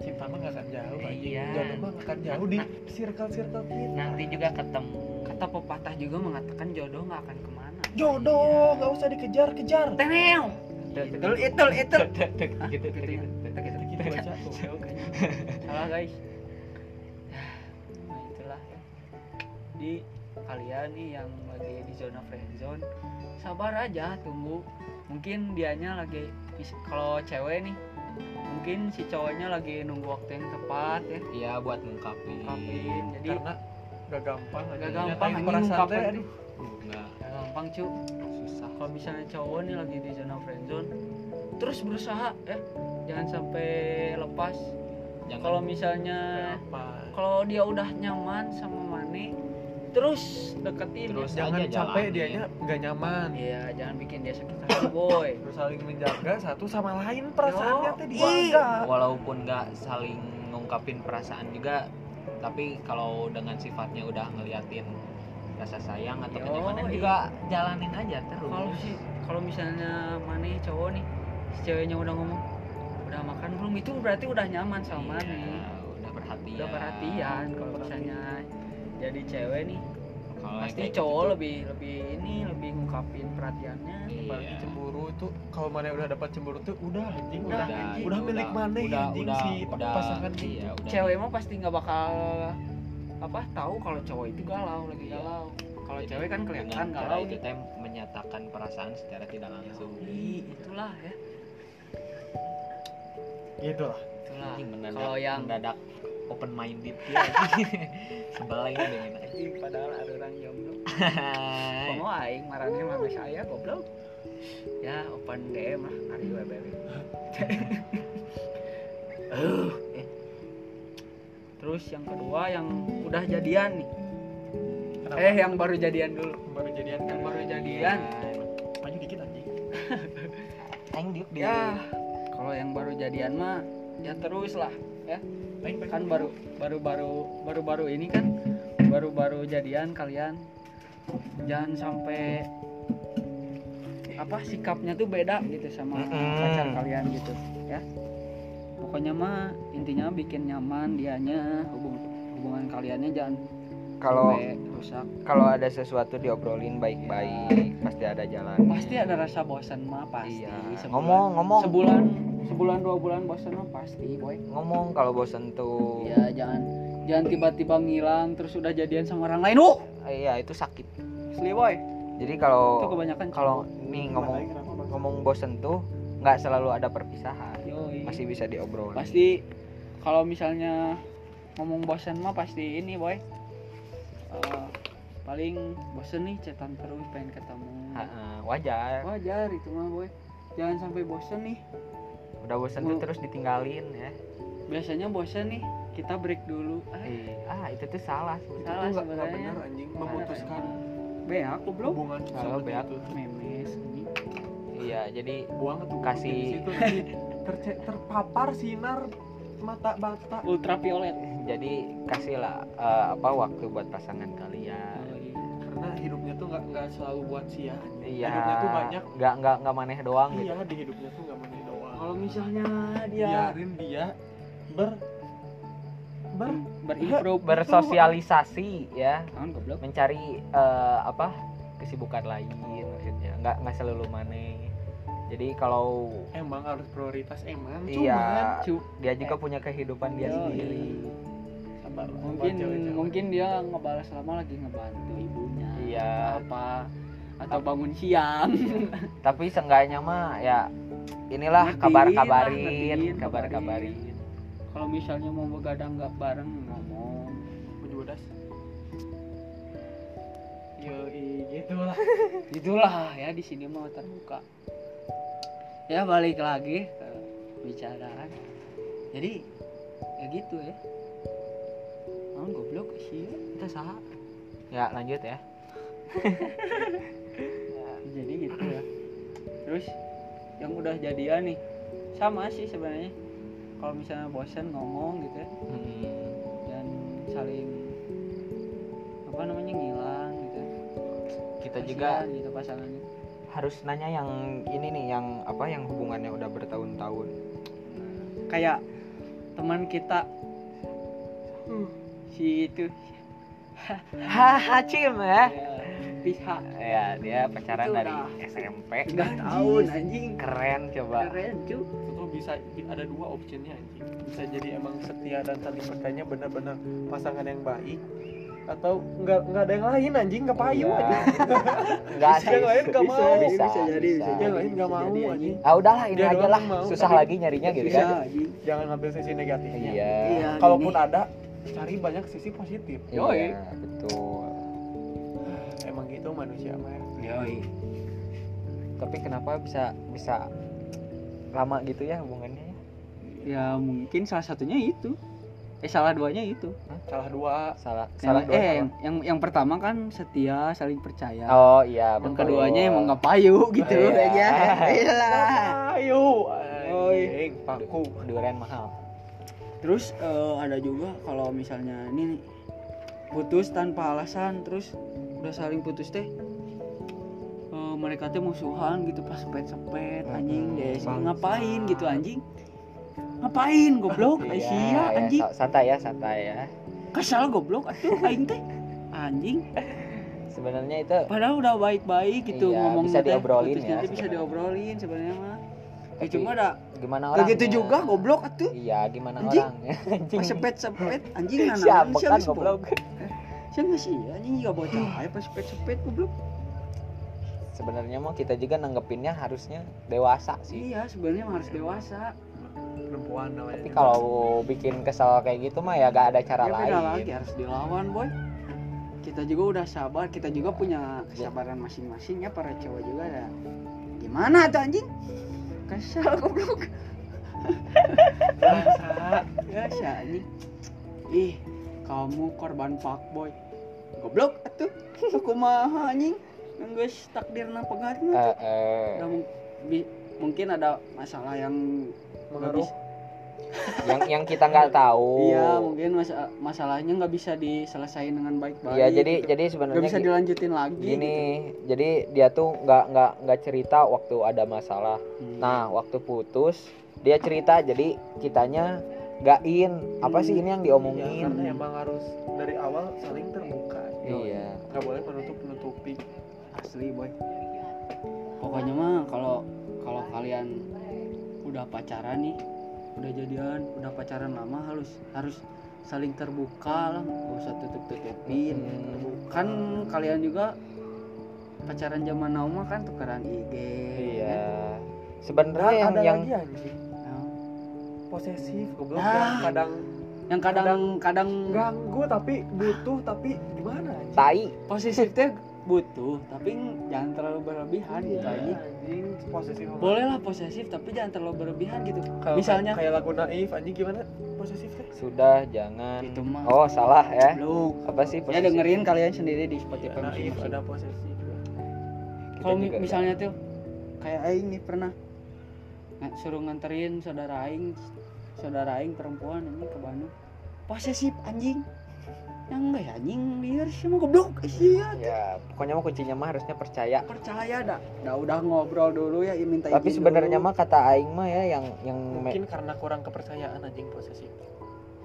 [SPEAKER 3] cinta mah nggak akan jauh aja
[SPEAKER 2] Iya.
[SPEAKER 3] jodoh mah nggak akan jauh di circle circle kita
[SPEAKER 2] nanti juga ketemu
[SPEAKER 1] kata pepatah juga mengatakan jodoh nggak akan kemana
[SPEAKER 3] jodoh nggak usah dikejar kejar
[SPEAKER 1] teneo itul itul itul Hah? Gitu,
[SPEAKER 2] gitu gitu gitu.
[SPEAKER 1] gitu,
[SPEAKER 3] kita
[SPEAKER 1] gitu.
[SPEAKER 3] baca tuh
[SPEAKER 1] Jauh kayaknya. salah guys nah itulah ya di kalian nih yang lagi di zona friendzone sabar aja tunggu mungkin dianya lagi mis- kalau cewek nih mungkin si cowoknya lagi nunggu waktu yang tepat ya
[SPEAKER 2] iya buat ngungkapin
[SPEAKER 1] ngungkapin jadi
[SPEAKER 3] karena gak gampang aja
[SPEAKER 1] Gak gampang
[SPEAKER 3] Nyatain
[SPEAKER 1] anjing
[SPEAKER 3] perasaan
[SPEAKER 1] ngungkapin.
[SPEAKER 3] teh aduh
[SPEAKER 2] Enggak,
[SPEAKER 1] Gak ya gampang cu
[SPEAKER 2] susah.
[SPEAKER 1] kalau misalnya cowok nih lagi di zona friendzone terus berusaha ya jangan sampai lepas
[SPEAKER 2] Jangan
[SPEAKER 1] kalau misalnya
[SPEAKER 3] kenapa
[SPEAKER 1] kalau dia udah nyaman sama Mane terus deketin ya.
[SPEAKER 2] Terus.
[SPEAKER 3] jangan
[SPEAKER 2] aja
[SPEAKER 3] capek
[SPEAKER 2] jalanin.
[SPEAKER 3] dianya gak nyaman
[SPEAKER 1] Iya, jangan bikin dia sakit hati, boy.
[SPEAKER 3] terus saling menjaga satu sama lain perasaannya
[SPEAKER 1] Yo,
[SPEAKER 3] teh
[SPEAKER 1] ih.
[SPEAKER 3] dijaga
[SPEAKER 2] walaupun nggak saling ngungkapin perasaan juga tapi kalau dengan sifatnya udah ngeliatin rasa sayang atau
[SPEAKER 1] Yoi.
[SPEAKER 2] kenyamanan juga jalanin aja terus
[SPEAKER 1] iya. Kalau sih kalau misalnya Mane cowok nih, si ceweknya udah ngomong udah makan belum itu berarti udah nyaman sama
[SPEAKER 2] Iya,
[SPEAKER 1] Mane.
[SPEAKER 2] udah perhatian
[SPEAKER 1] Udah perhatian kalau misalnya jadi cewek nih
[SPEAKER 2] Kalau yang
[SPEAKER 1] pasti
[SPEAKER 2] kayak
[SPEAKER 1] cowok
[SPEAKER 2] gitu,
[SPEAKER 1] lebih lebih ini lebih ngungkapin perhatiannya.
[SPEAKER 3] apalagi
[SPEAKER 2] iya.
[SPEAKER 3] cemburu tuh kalau mana udah dapat cemburu tuh udah anjing
[SPEAKER 1] Udah,
[SPEAKER 3] udah
[SPEAKER 1] anjing.
[SPEAKER 3] udah milik mana ya,
[SPEAKER 2] gitu udah,
[SPEAKER 3] anjing,
[SPEAKER 2] udah,
[SPEAKER 3] si
[SPEAKER 2] udah,
[SPEAKER 4] kan?
[SPEAKER 3] pasangan
[SPEAKER 2] iya, udah
[SPEAKER 1] Cewek mah pasti nggak bakal apa tahu kalau cowok itu galau lagi
[SPEAKER 2] Iya.
[SPEAKER 1] galau. Kalau
[SPEAKER 2] Jadi,
[SPEAKER 1] cewek kan kelihatan
[SPEAKER 2] dengan cara
[SPEAKER 1] galau.
[SPEAKER 4] gitu.
[SPEAKER 2] itu tem menyatakan perasaan secara tidak langsung
[SPEAKER 1] Ih, itulah ya.
[SPEAKER 3] gitu lah
[SPEAKER 1] Itulah.
[SPEAKER 2] Anjing, mendadak
[SPEAKER 1] Kalau yang
[SPEAKER 2] mendadak open minded ya sebeleng dengan
[SPEAKER 1] Ih, padahal ada orang jomblo. Komo aing marane mami saya goblok. Ya open DM lah hari WBB. Eh, eh. Terus yang kedua yang udah jadian nih.
[SPEAKER 3] Kenapa?
[SPEAKER 1] Eh yang baru jadian dulu.
[SPEAKER 3] baru jadian kan
[SPEAKER 1] Yang baru jadian.
[SPEAKER 2] Yan
[SPEAKER 3] maju dikit anjing
[SPEAKER 2] aing diuk di
[SPEAKER 1] Ya kalau yang baru jadian mah ya terus lah
[SPEAKER 3] Baik, baik.
[SPEAKER 1] kan baru baru baru baru baru ini kan baru baru jadian kalian jangan sampai apa sikapnya tuh beda gitu sama
[SPEAKER 3] Mm-mm.
[SPEAKER 1] pacar kalian gitu ya pokoknya mah intinya bikin nyaman dianya hubung- hubungan kaliannya jangan
[SPEAKER 4] kalau
[SPEAKER 1] sampai rusak
[SPEAKER 4] kalau ada sesuatu diobrolin baik-baik pasti ada jalan
[SPEAKER 1] pasti ada rasa bosan mah pasti
[SPEAKER 4] iya
[SPEAKER 1] Sebulan-
[SPEAKER 4] ngomong ngomong
[SPEAKER 1] sebulan sebulan dua bulan bosan mah pasti boy
[SPEAKER 4] ngomong kalau bosen tuh
[SPEAKER 1] ya
[SPEAKER 2] Iya.
[SPEAKER 1] jangan jangan tiba-tiba ngilang terus udah jadian sama orang lain uh
[SPEAKER 4] Eh, iya itu sakit
[SPEAKER 1] asli boy
[SPEAKER 4] jadi
[SPEAKER 1] itu
[SPEAKER 4] kalau
[SPEAKER 1] kebanyakan
[SPEAKER 4] kalau nih ngomong ngomong bosen tuh nggak selalu ada perpisahan
[SPEAKER 1] Yoi.
[SPEAKER 4] masih bisa diobrolin
[SPEAKER 1] pasti kalau misalnya ngomong bosan mah pasti ini boy Eh, paling bosan nih cetan terus pengen ketemu
[SPEAKER 4] Ha, eh, wajar
[SPEAKER 1] wajar itu mah boy jangan sampai bosan nih
[SPEAKER 4] udah bosen tuh
[SPEAKER 1] Mulu.
[SPEAKER 4] terus ditinggalin ya
[SPEAKER 1] biasanya bosan nih kita break dulu ah,
[SPEAKER 4] Ih, ah itu tuh salah sebenarnya.
[SPEAKER 1] salah
[SPEAKER 3] Itu nggak- nggak
[SPEAKER 1] sebenarnya
[SPEAKER 3] benar anjing memutuskan
[SPEAKER 1] be aku belum
[SPEAKER 3] hubungan
[SPEAKER 4] Salah,
[SPEAKER 3] seperti
[SPEAKER 4] Beak.
[SPEAKER 3] itu
[SPEAKER 1] memes ini
[SPEAKER 4] iya jadi
[SPEAKER 3] buang tuh
[SPEAKER 4] Kasih-
[SPEAKER 3] di situ, nanti terce- terpapar sinar mata bata
[SPEAKER 1] ultraviolet
[SPEAKER 4] jadi kasihlah eh, apa waktu buat pasangan kalian
[SPEAKER 1] Yoi.
[SPEAKER 3] karena hidupnya tuh nggak nggak selalu buat sia
[SPEAKER 4] iya
[SPEAKER 3] hidupnya tuh banyak
[SPEAKER 4] nggak nggak nggak maneh doang gitu
[SPEAKER 3] iya di hidupnya tuh nggak menjadi doang Iya.
[SPEAKER 1] kalau Iya. misalnya
[SPEAKER 4] Iya.
[SPEAKER 1] dia
[SPEAKER 3] biarin dia ber ber
[SPEAKER 1] berimprove
[SPEAKER 4] bersosialisasi ya
[SPEAKER 1] Tangan goblok
[SPEAKER 4] mencari eh, apa kesibukan lain maksudnya nggak nggak selalu maneh jadi kalau
[SPEAKER 3] emang harus prioritas emang cuman
[SPEAKER 4] iya
[SPEAKER 1] cu-
[SPEAKER 4] dia juga punya kehidupan
[SPEAKER 3] Iya,
[SPEAKER 4] dia
[SPEAKER 1] Yoi.
[SPEAKER 4] sendiri
[SPEAKER 3] sabar lah,
[SPEAKER 1] mungkin
[SPEAKER 3] buat cewek-cewek.
[SPEAKER 1] mungkin dia ngebalas lama lagi ngebantu ibunya
[SPEAKER 4] Iya.
[SPEAKER 1] atau apa atau bangun siang
[SPEAKER 4] tapi seenggaknya mah ya inilah
[SPEAKER 1] Ngertiin
[SPEAKER 4] kabar
[SPEAKER 1] lah,
[SPEAKER 4] kabarin
[SPEAKER 1] ngertiin,
[SPEAKER 4] kabar kabarin
[SPEAKER 1] Iya, kalau misalnya mau begadang nggak bareng ngomong
[SPEAKER 3] Gua juga das Yoi, gitu lah
[SPEAKER 1] gitulah ya di sini mau terbuka ya balik lagi ke bicaraan jadi ya gitu ya Tangan goblok sih
[SPEAKER 2] kita salah
[SPEAKER 4] ya lanjut ya
[SPEAKER 1] jadi gitu ya terus yang udah jadian nih sama sih sebenarnya kalau misalnya bosan ngomong gitu ya
[SPEAKER 4] Hmm,
[SPEAKER 1] dan saling apa namanya ngilang gitu
[SPEAKER 4] kita
[SPEAKER 1] Kasihan
[SPEAKER 4] juga
[SPEAKER 1] gitu pasangannya
[SPEAKER 4] harus nanya yang ini nih yang apa yang hubungannya udah bertahun-tahun
[SPEAKER 1] kayak teman kita si itu
[SPEAKER 4] hahaha cim ya
[SPEAKER 1] pihak
[SPEAKER 4] ya dia pacaran
[SPEAKER 1] Itu
[SPEAKER 4] dari
[SPEAKER 1] udah.
[SPEAKER 4] SMP
[SPEAKER 1] udah tahun anjing
[SPEAKER 4] keren coba
[SPEAKER 1] keren cu
[SPEAKER 3] itu tuh bisa ada dua optionnya anjing bisa jadi emang setia dan saling percaya benar-benar pasangan yang baik atau nggak nggak ada yang lain anjing nggak payu
[SPEAKER 4] Iya.
[SPEAKER 3] anjing
[SPEAKER 4] nggak
[SPEAKER 3] Bisa, yang lain nggak
[SPEAKER 4] bisa,
[SPEAKER 3] mau.
[SPEAKER 4] bisa,
[SPEAKER 1] Bisa jadi,
[SPEAKER 4] bisa.
[SPEAKER 1] bisa
[SPEAKER 3] yang lain nggak
[SPEAKER 1] Bisa
[SPEAKER 3] mau
[SPEAKER 1] jadi,
[SPEAKER 3] anjing
[SPEAKER 4] ah udahlah ini
[SPEAKER 3] Dia
[SPEAKER 4] aja
[SPEAKER 3] doang
[SPEAKER 4] lah
[SPEAKER 3] mau,
[SPEAKER 4] susah
[SPEAKER 3] tapi-
[SPEAKER 4] lagi nyarinya gitu
[SPEAKER 1] bisa
[SPEAKER 4] kan
[SPEAKER 1] anjing
[SPEAKER 3] jangan ambil sisi negatifnya
[SPEAKER 4] iya
[SPEAKER 1] Iya.
[SPEAKER 3] kalaupun
[SPEAKER 1] ini.
[SPEAKER 3] ada cari banyak sisi positif
[SPEAKER 2] Iya,
[SPEAKER 3] yoi
[SPEAKER 2] betul.
[SPEAKER 3] emang gitu manusia mah ya.
[SPEAKER 1] Yoi.
[SPEAKER 2] Tapi kenapa bisa bisa lama gitu ya hubungannya? ya?
[SPEAKER 1] Ya mungkin salah satunya itu. Eh salah duanya itu.
[SPEAKER 3] salah dua
[SPEAKER 2] Salah
[SPEAKER 1] Salah yang,
[SPEAKER 2] salah dua
[SPEAKER 1] eh
[SPEAKER 2] apa?
[SPEAKER 1] yang, yang yang pertama kan setia, saling percaya.
[SPEAKER 2] Oh iya,
[SPEAKER 1] yang
[SPEAKER 2] betul.
[SPEAKER 1] keduanya emang nggak payu gitu
[SPEAKER 2] Iya.
[SPEAKER 1] kayaknya. Iya lah.
[SPEAKER 3] ayo
[SPEAKER 1] Yoi.
[SPEAKER 3] anjing paku
[SPEAKER 2] Durian mahal.
[SPEAKER 1] Terus eh, ada juga kalau misalnya ini nih, putus tanpa alasan terus udah saling putus teh eh, mereka teh musuhan gitu pas sepet-sepet anjing
[SPEAKER 2] Hmm,
[SPEAKER 1] deh
[SPEAKER 2] bangsat.
[SPEAKER 1] ngapain gitu anjing ngapain goblok
[SPEAKER 2] Iya,
[SPEAKER 1] Asia
[SPEAKER 2] ya,
[SPEAKER 1] Oh, anjing
[SPEAKER 2] sa- santai ya, santai ya.
[SPEAKER 1] kesal goblok atuh aing teh anjing
[SPEAKER 2] Sebenarnya itu
[SPEAKER 1] padahal udah baik-baik gitu
[SPEAKER 2] Iya,
[SPEAKER 1] ngomong
[SPEAKER 2] bisa
[SPEAKER 1] teh,
[SPEAKER 2] diobrolin
[SPEAKER 1] putus
[SPEAKER 2] ya
[SPEAKER 1] nanti bisa
[SPEAKER 2] sebenarnya.
[SPEAKER 1] diobrolin sebenarnya mah ya
[SPEAKER 2] Tapi
[SPEAKER 1] cuma ada
[SPEAKER 2] gimana orang? ya?
[SPEAKER 1] gak gitu juga goblok atuh
[SPEAKER 2] Iya, gimana
[SPEAKER 1] Anjing.
[SPEAKER 2] orangnya?
[SPEAKER 1] pas sepet-sepet anjing nanang
[SPEAKER 2] Siapa
[SPEAKER 1] siapa
[SPEAKER 2] kan
[SPEAKER 1] sih, Bo?
[SPEAKER 2] goblok? Hmm.
[SPEAKER 1] Siapa sih anjing juga bocah aja pas sepet-sepet goblok.
[SPEAKER 2] Sebenarnya mah kita juga nanggepinnya harusnya dewasa sih.
[SPEAKER 1] Iya, sebenarnya mah harus dewasa.
[SPEAKER 3] perempuan namanya
[SPEAKER 2] Tapi kalau bikin kesal kayak gitu mah ya gak ada cara
[SPEAKER 1] Ya beda lagi
[SPEAKER 2] lain.
[SPEAKER 1] harus dilawan, boy. Kita juga udah sabar, kita juga
[SPEAKER 2] Ya.
[SPEAKER 1] punya kesabaran masing-masing ya para cowok juga ada. Gimana tuh anjing? Kesal goblok.
[SPEAKER 3] Bahasa.
[SPEAKER 1] Ya si anjing. Ih, kamu korban fuckboy. Goblok atuh. Aku mah anjing. Nanggeus takdirna pengaruh.
[SPEAKER 2] Eh, eh,
[SPEAKER 1] mungkin ada masalah yang
[SPEAKER 3] mengaruh
[SPEAKER 2] yang yang kita nggak tahu.
[SPEAKER 1] Iya, mungkin masa masalahnya nggak bisa diselesaikan dengan baik-baik.
[SPEAKER 2] Iya, jadi
[SPEAKER 1] gitu.
[SPEAKER 2] jadi
[SPEAKER 1] nggak
[SPEAKER 2] sebenarnya
[SPEAKER 1] bisa
[SPEAKER 2] gi-
[SPEAKER 1] dilanjutin lagi.
[SPEAKER 2] gini, jadi dia tuh nggak nggak nggak cerita waktu ada masalah.
[SPEAKER 1] gitu. Hmm.
[SPEAKER 2] Nah, waktu putus dia cerita, jadi kitanya nggak in apa sih ini yang
[SPEAKER 3] ya,
[SPEAKER 2] diomongin?
[SPEAKER 3] karena emang harus dari awal saling terbuka
[SPEAKER 2] Iya.
[SPEAKER 3] nggak boleh menutup menutupi
[SPEAKER 1] asli boy. Pokoknya mah kalau kalau kalian udah pacaran nih, udah jadian, udah pacaran lama harus harus saling terbuka lah, nggak usah tutup-tutupin.
[SPEAKER 2] Hmm,
[SPEAKER 1] Kan kalian juga pacaran zaman now mah kan tukeran ya IG.
[SPEAKER 2] iya.
[SPEAKER 3] dan
[SPEAKER 2] Sebenarnya yang
[SPEAKER 3] ada
[SPEAKER 2] yang
[SPEAKER 3] lagi anjing
[SPEAKER 1] Nah,
[SPEAKER 3] posesif goblok
[SPEAKER 1] Ah.
[SPEAKER 3] yang kadang
[SPEAKER 1] yang kadang kadang
[SPEAKER 3] ganggu tapi butuh tapi gimana anjing
[SPEAKER 2] tai
[SPEAKER 1] positifnya butuh tapi jangan terlalu berlebihan gitu
[SPEAKER 3] Iya,
[SPEAKER 1] aja
[SPEAKER 3] anjing posesif banget.
[SPEAKER 1] bolehlah posesif tapi jangan terlalu berlebihan gitu
[SPEAKER 3] Kayak-
[SPEAKER 1] misalnya-
[SPEAKER 3] kayak lagu naif anjing gimana posesif kan? teh
[SPEAKER 2] sudah jangan.
[SPEAKER 1] Itu mah.
[SPEAKER 2] Oh, salah ya.
[SPEAKER 1] lu
[SPEAKER 2] Apa sih?
[SPEAKER 1] Gitu. ya
[SPEAKER 2] posesif?
[SPEAKER 1] dengerin kalian sendiri di Spotify
[SPEAKER 3] naif
[SPEAKER 1] masing-masing.
[SPEAKER 3] ada posesif
[SPEAKER 2] Kita
[SPEAKER 1] kalau mi-
[SPEAKER 2] juga-
[SPEAKER 1] iya, misalnya tuh kayak Aing nih pernah nggak suruh nganterin saudara Aing saudara Aing perempuan ini ke Bandung posesif anjing yang enggak ya anjing liar sih mau goblok sih ya
[SPEAKER 2] Ya, pokoknya mah kuncinya mah harusnya percaya.
[SPEAKER 1] percaya dah dah udah ngobrol dulu ya minta
[SPEAKER 2] Tapi
[SPEAKER 1] izin
[SPEAKER 2] sebenarnya
[SPEAKER 1] dulu.
[SPEAKER 2] mah kata aing mah ya yang yang me-
[SPEAKER 3] mungkin karena kurang kepercayaan anjing posesif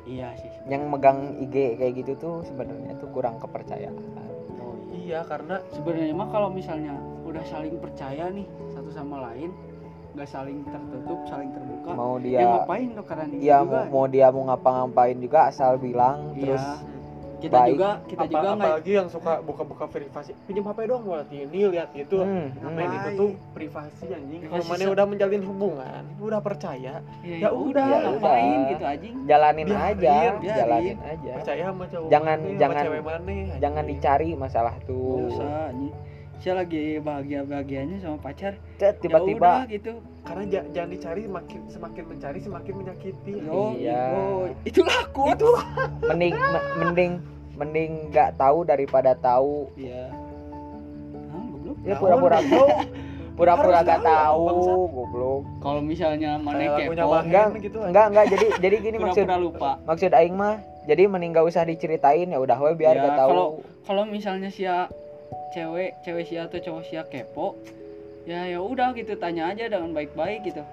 [SPEAKER 1] iya sih
[SPEAKER 2] yang megang IG kayak gitu tuh sebenarnya tuh kurang kepercayaan.
[SPEAKER 1] oh, iya.
[SPEAKER 3] iya karena
[SPEAKER 1] sebenarnya mah kalau misalnya udah saling percaya nih satu sama lain nggak saling tertutup saling terbuka
[SPEAKER 2] Mau
[SPEAKER 1] ya,
[SPEAKER 2] dia
[SPEAKER 1] ngapain lo karena
[SPEAKER 2] dia Ya, mau, mau dia mau ngapa-ngapain juga asal bilang
[SPEAKER 1] ya. Iya.
[SPEAKER 2] terus
[SPEAKER 1] kita
[SPEAKER 2] baik.
[SPEAKER 1] juga kita
[SPEAKER 3] apa,
[SPEAKER 1] juga nggak
[SPEAKER 3] apalagi yang suka buka-buka privasi pinjam HP dong buat ini lihat gitu
[SPEAKER 2] hmm,
[SPEAKER 3] Ngapain
[SPEAKER 1] Ngapain?
[SPEAKER 3] itu tuh iya. privasi anjing kalau
[SPEAKER 1] Privasi
[SPEAKER 3] mana
[SPEAKER 1] se-
[SPEAKER 3] udah menjalin hubungan udah percaya
[SPEAKER 1] ya,
[SPEAKER 3] ya udah,
[SPEAKER 2] ya
[SPEAKER 1] ngapain
[SPEAKER 2] udah.
[SPEAKER 1] gitu anjing
[SPEAKER 2] jalanin
[SPEAKER 3] Biarin,
[SPEAKER 2] aja,
[SPEAKER 1] biarin.
[SPEAKER 2] jalanin aja.
[SPEAKER 3] percaya sama cowok
[SPEAKER 2] Jangan-
[SPEAKER 3] mana,
[SPEAKER 2] jangan-
[SPEAKER 3] sama cewek mana anjing.
[SPEAKER 2] Jangan dicari masalah
[SPEAKER 1] nggak
[SPEAKER 2] tuh.
[SPEAKER 1] usah anjing saya lagi bahagia bahagianya sama pacar Ya
[SPEAKER 2] Cet,
[SPEAKER 1] udah,
[SPEAKER 2] tiba-tiba
[SPEAKER 1] gitu
[SPEAKER 3] karena ja- jangan dicari makin semakin mencari semakin menyakiti Gitu
[SPEAKER 1] yo
[SPEAKER 2] Iya.
[SPEAKER 1] boy. itulah aku itu
[SPEAKER 2] mending me- mending mending nggak tahu daripada tahu.
[SPEAKER 1] iya Ah, goblok.
[SPEAKER 2] Ya
[SPEAKER 3] Naon,
[SPEAKER 2] pura-pura pura-pura
[SPEAKER 3] Harus
[SPEAKER 2] nggak
[SPEAKER 3] tahu,
[SPEAKER 2] tahu,
[SPEAKER 3] bangsat.
[SPEAKER 2] goblok.
[SPEAKER 1] kalau misalnya mana
[SPEAKER 3] Kayak lagunya
[SPEAKER 1] kepo
[SPEAKER 3] Wahyu.
[SPEAKER 2] Enggak,
[SPEAKER 3] gitu lah.
[SPEAKER 2] enggak, enggak. Jadi jadi gini maksud
[SPEAKER 1] pura-pura lupa
[SPEAKER 2] maksud aing mah jadi mending gak usah diceritain ya udah we biar
[SPEAKER 1] Ya,
[SPEAKER 2] gak tahu
[SPEAKER 1] kalau- kalau misalnya sia cewek cewek sia atau cowok sia kepo ya ya udah gitu tanya aja dengan baik-baik gitu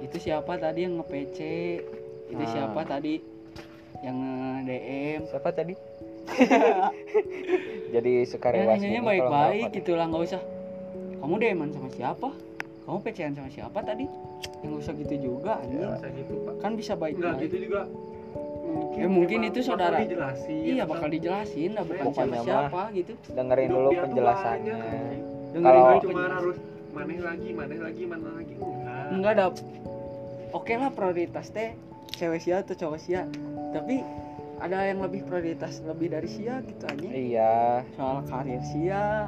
[SPEAKER 1] itu siapa tadi yang nge-PC itu
[SPEAKER 2] Ah.
[SPEAKER 1] siapa tadi yang nge-DM
[SPEAKER 2] siapa tadi jadi suka
[SPEAKER 1] ya
[SPEAKER 2] rewas
[SPEAKER 1] nanyanya
[SPEAKER 2] gini kalau
[SPEAKER 1] baik-baik
[SPEAKER 2] nggak
[SPEAKER 1] gitu lah nggak usah kamu DM-an sama siapa kamu PC-an sama siapa tadi yang nggak usah gitu juga
[SPEAKER 3] Ya,
[SPEAKER 2] Iya.
[SPEAKER 1] anjing
[SPEAKER 3] bisa gitu pak
[SPEAKER 1] kan bisa
[SPEAKER 3] enggak
[SPEAKER 1] baik-baik
[SPEAKER 3] gitu juga mungkin,
[SPEAKER 1] Ya, mungkin
[SPEAKER 3] emang
[SPEAKER 1] itu saudara.
[SPEAKER 3] bakal dijelasin
[SPEAKER 1] iya
[SPEAKER 3] atau
[SPEAKER 1] bakal dijelasin lah bukan
[SPEAKER 2] Pokoknya
[SPEAKER 1] siapa
[SPEAKER 2] mah,
[SPEAKER 1] siapa gitu
[SPEAKER 2] apa-apa. dengerin
[SPEAKER 3] hidup
[SPEAKER 2] dulu
[SPEAKER 3] dia tuh
[SPEAKER 2] penjelasannya
[SPEAKER 3] banyak, anjing.
[SPEAKER 1] dengerin
[SPEAKER 2] Kalau-
[SPEAKER 1] dulu
[SPEAKER 3] cuma
[SPEAKER 1] penjelasan.
[SPEAKER 3] harus maneh lagi maneh lagi maneh lagi enggak
[SPEAKER 1] enggak ada oke lah prioritas teh cewek sia atau cowok sia tapi ada yang lebih prioritas lebih dari sia gitu anjing
[SPEAKER 2] iya
[SPEAKER 1] soal karir sia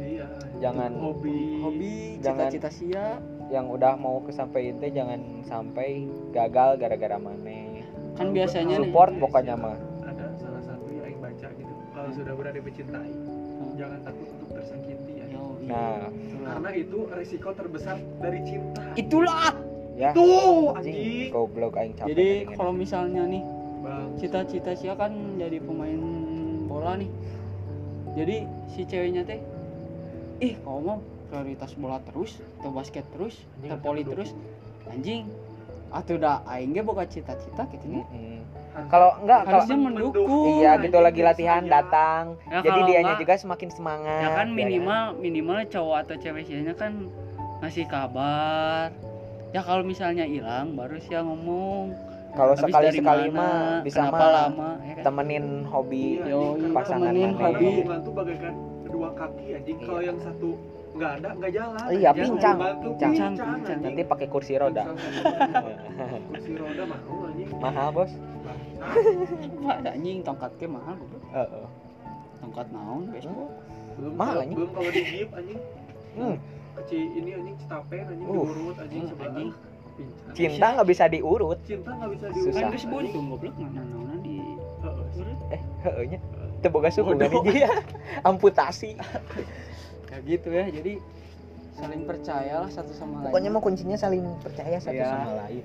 [SPEAKER 3] iya
[SPEAKER 2] Jangan.
[SPEAKER 3] hobi
[SPEAKER 1] hobi
[SPEAKER 2] Jangan.
[SPEAKER 1] cita-cita sia
[SPEAKER 2] yang udah mau kesampaian teh jangan sampai gagal gara-gara maneh
[SPEAKER 1] kan biasanya nih
[SPEAKER 2] Support pokoknya mah.
[SPEAKER 3] ada salah satu yang aing baca gitu kalau sudah berada mencintai
[SPEAKER 2] Hmm.
[SPEAKER 3] jangan takut untuk tersakiti ya.
[SPEAKER 1] Yoi.
[SPEAKER 2] nah
[SPEAKER 1] Itulah.
[SPEAKER 3] karena itu resiko terbesar dari cinta
[SPEAKER 1] itulah
[SPEAKER 2] ya
[SPEAKER 3] tuh
[SPEAKER 2] anjing
[SPEAKER 3] anjing
[SPEAKER 2] goblok aing capek
[SPEAKER 1] jadi
[SPEAKER 2] ngedengerin.
[SPEAKER 1] kalau misalnya nih
[SPEAKER 3] bang
[SPEAKER 1] cita-cita sia kan jadi pemain bola nih jadi si ceweknya teh ih kamu mah prioritas bola terus atau basket terus
[SPEAKER 3] Anjing,
[SPEAKER 1] atau poli
[SPEAKER 3] duduk.
[SPEAKER 1] terus anjing atau udah aing ge boga cita-cita gitu nih
[SPEAKER 2] Mm-mm. kalau enggak kalau
[SPEAKER 1] harusnya mendukung
[SPEAKER 2] iya gitu lagi
[SPEAKER 3] Anjing,
[SPEAKER 2] latihan
[SPEAKER 3] saya.
[SPEAKER 2] datang
[SPEAKER 1] Ya,
[SPEAKER 2] jadi
[SPEAKER 1] kalau
[SPEAKER 2] dianya
[SPEAKER 1] enggak,
[SPEAKER 2] juga semakin semangat
[SPEAKER 1] ya kan
[SPEAKER 2] ya
[SPEAKER 1] minimal minimal cowok atau cewek sianya kan ngasih kabar ya kalau misalnya hilang baru sih ngomong
[SPEAKER 2] kan? kalau
[SPEAKER 1] Habis
[SPEAKER 2] sekali
[SPEAKER 1] dari
[SPEAKER 2] sekali
[SPEAKER 1] mana,
[SPEAKER 2] mah bisa
[SPEAKER 1] kenapa
[SPEAKER 2] mah
[SPEAKER 1] lama ya kan?
[SPEAKER 2] temenin hobi
[SPEAKER 3] Iya,
[SPEAKER 1] Yoi,
[SPEAKER 3] anjing, karena
[SPEAKER 2] pasangan
[SPEAKER 3] temenin
[SPEAKER 2] mana. ya.
[SPEAKER 3] hobi
[SPEAKER 1] Iya.
[SPEAKER 3] hubungan tuh bagaikan kedua kaki anjing kalau
[SPEAKER 2] Iya.
[SPEAKER 3] yang satu nggak ada nggak jalan
[SPEAKER 2] Iya,
[SPEAKER 3] anjing.
[SPEAKER 2] pincang,
[SPEAKER 3] Hubungan tuh
[SPEAKER 2] pincang.
[SPEAKER 1] Pincang,
[SPEAKER 3] anjing.
[SPEAKER 2] nanti pakai kursi roda
[SPEAKER 3] Pincang. kursi roda mahal anjing
[SPEAKER 2] mahal bos
[SPEAKER 3] Bangsat.
[SPEAKER 1] Pak, anjing tongkat ke mahal goblok.
[SPEAKER 2] Heeh.
[SPEAKER 1] tongkat naon baseball
[SPEAKER 3] belum
[SPEAKER 2] Mahal,
[SPEAKER 3] kalau-
[SPEAKER 2] anjing.
[SPEAKER 3] belum kalau di jeep anjing
[SPEAKER 2] Hmm,
[SPEAKER 3] kecil ini anjing cetapen anjing
[SPEAKER 2] Uh.
[SPEAKER 3] diurut anjing
[SPEAKER 1] Hmm,
[SPEAKER 3] sebelah
[SPEAKER 1] anjing.
[SPEAKER 3] Pincang.
[SPEAKER 2] cinta nggak bisa diurut
[SPEAKER 3] cinta nggak bisa
[SPEAKER 2] Susah.
[SPEAKER 1] kan
[SPEAKER 3] diurut
[SPEAKER 1] geus buntung goblok mana naonan di urut
[SPEAKER 2] Heeh, nya. teu boga suku
[SPEAKER 1] Bodoh.
[SPEAKER 2] kan dia amputasi
[SPEAKER 1] kayak gitu ya jadi saling percayalah satu sama lain
[SPEAKER 2] pokoknya mah kuncinya saling percaya satu
[SPEAKER 1] Iya.
[SPEAKER 2] sama lain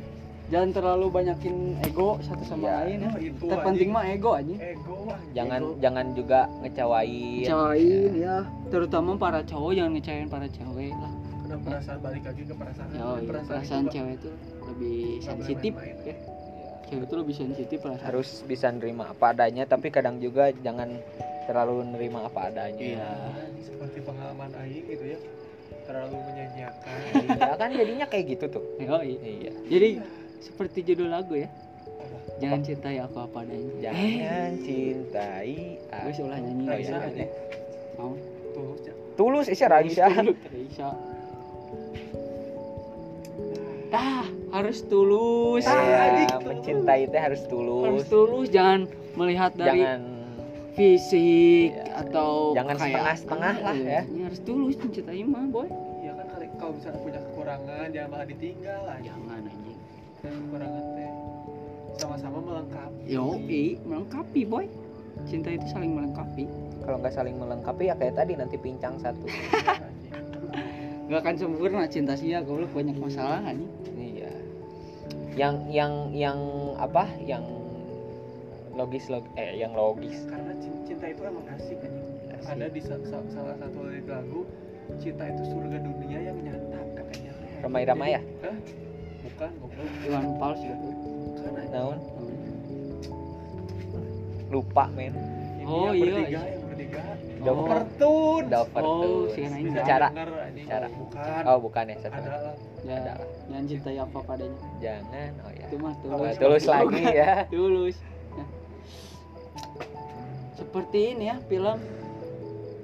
[SPEAKER 1] jangan terlalu banyakin ego satu sama
[SPEAKER 2] Iya.
[SPEAKER 1] lain ya
[SPEAKER 3] Nah, itu
[SPEAKER 1] terpenting
[SPEAKER 3] anjing.
[SPEAKER 1] mah ego anjing
[SPEAKER 3] ego anjing.
[SPEAKER 2] jangan
[SPEAKER 3] Ego.
[SPEAKER 2] jangan juga ngecewain
[SPEAKER 1] cewek ya terutama para cowok jangan ngecewain para cewek lah
[SPEAKER 3] karena perasaan balik lagi ke Iya, perasaan
[SPEAKER 2] iya,
[SPEAKER 1] ya perasaan cewek itu lebih sensitif ya cewek itu lebih sensitif perasaan
[SPEAKER 2] harus bisa nerima apa adanya tapi kadang juga jangan terlalu nerima apa adanya
[SPEAKER 1] Iya.
[SPEAKER 3] seperti pengalaman Aing gitu ya terlalu menyanyiakan
[SPEAKER 2] Iya, kan jadinya kayak gitu tuh
[SPEAKER 1] Yoi.
[SPEAKER 2] iya
[SPEAKER 1] jadi seperti judul lagu ya jangan cintai aku apa adanya eh
[SPEAKER 2] jangan cintai
[SPEAKER 1] gue
[SPEAKER 2] aku.
[SPEAKER 1] ulah nyanyi
[SPEAKER 2] Oh,
[SPEAKER 1] Raisa
[SPEAKER 2] iya,
[SPEAKER 1] aja.
[SPEAKER 2] iya.
[SPEAKER 1] mau
[SPEAKER 3] tulus ya
[SPEAKER 2] tulus isya Raisa
[SPEAKER 1] Raisa ah harus tulus
[SPEAKER 2] Iya,
[SPEAKER 3] Tulus.
[SPEAKER 2] mencintai teh harus
[SPEAKER 1] harus
[SPEAKER 2] tulus
[SPEAKER 1] tulus jangan melihat dari
[SPEAKER 2] jangan
[SPEAKER 1] fisik
[SPEAKER 2] Iya.
[SPEAKER 1] atau
[SPEAKER 2] Jangan
[SPEAKER 1] kayak-
[SPEAKER 2] setengah-setengah lah ya.
[SPEAKER 1] Ini harus tulus mencintai mah boy
[SPEAKER 3] iya kan kali- kalau misalnya punya kekurangan jangan malah ditinggal aja
[SPEAKER 1] jangan anjing
[SPEAKER 3] dan kekurangan teh sama-sama melengkapi
[SPEAKER 1] yoi melengkapi boy cinta itu saling melengkapi
[SPEAKER 2] kalau nggak saling melengkapi ya kayak tadi nanti pincang satu
[SPEAKER 3] Iya, Anjing.
[SPEAKER 1] nggak akan sempurna cinta sia goblok banyak masalah anjing
[SPEAKER 2] Iya. Yang yang yang apa? Yang logis log eh yang logis.
[SPEAKER 3] karena cin- cinta itu emang asik anjing
[SPEAKER 2] Asik.
[SPEAKER 3] ada di sa- sa- salah satu lirik lagu cinta itu surga dunia yang nyata katanya
[SPEAKER 2] Ramai-ramai ya?
[SPEAKER 3] Hah? bukan goblok
[SPEAKER 1] Iwan Fals gitu
[SPEAKER 3] bukan anjing.
[SPEAKER 2] Naon? Lupa men.
[SPEAKER 3] Ini
[SPEAKER 1] Oh,
[SPEAKER 3] yang
[SPEAKER 1] iya,
[SPEAKER 3] bertiga
[SPEAKER 1] iya.
[SPEAKER 3] yang bertiga
[SPEAKER 2] Dover.
[SPEAKER 3] pertun
[SPEAKER 2] Dover
[SPEAKER 1] Oh,
[SPEAKER 2] tuh.
[SPEAKER 1] si Neng.
[SPEAKER 3] Bisa
[SPEAKER 2] Cara.
[SPEAKER 3] denger, anjing.
[SPEAKER 2] Cara.
[SPEAKER 3] bukan
[SPEAKER 2] Oh, bukan ya satu.
[SPEAKER 3] ada lah
[SPEAKER 1] ya
[SPEAKER 2] Ada.
[SPEAKER 1] jangan cintai apa padanya
[SPEAKER 2] Jangan. Oh ya.
[SPEAKER 1] itu mah
[SPEAKER 2] Oh,
[SPEAKER 1] tulus
[SPEAKER 2] tulus lagi
[SPEAKER 1] Iya.
[SPEAKER 2] ya.
[SPEAKER 1] tulus Nah. seperti ini ya film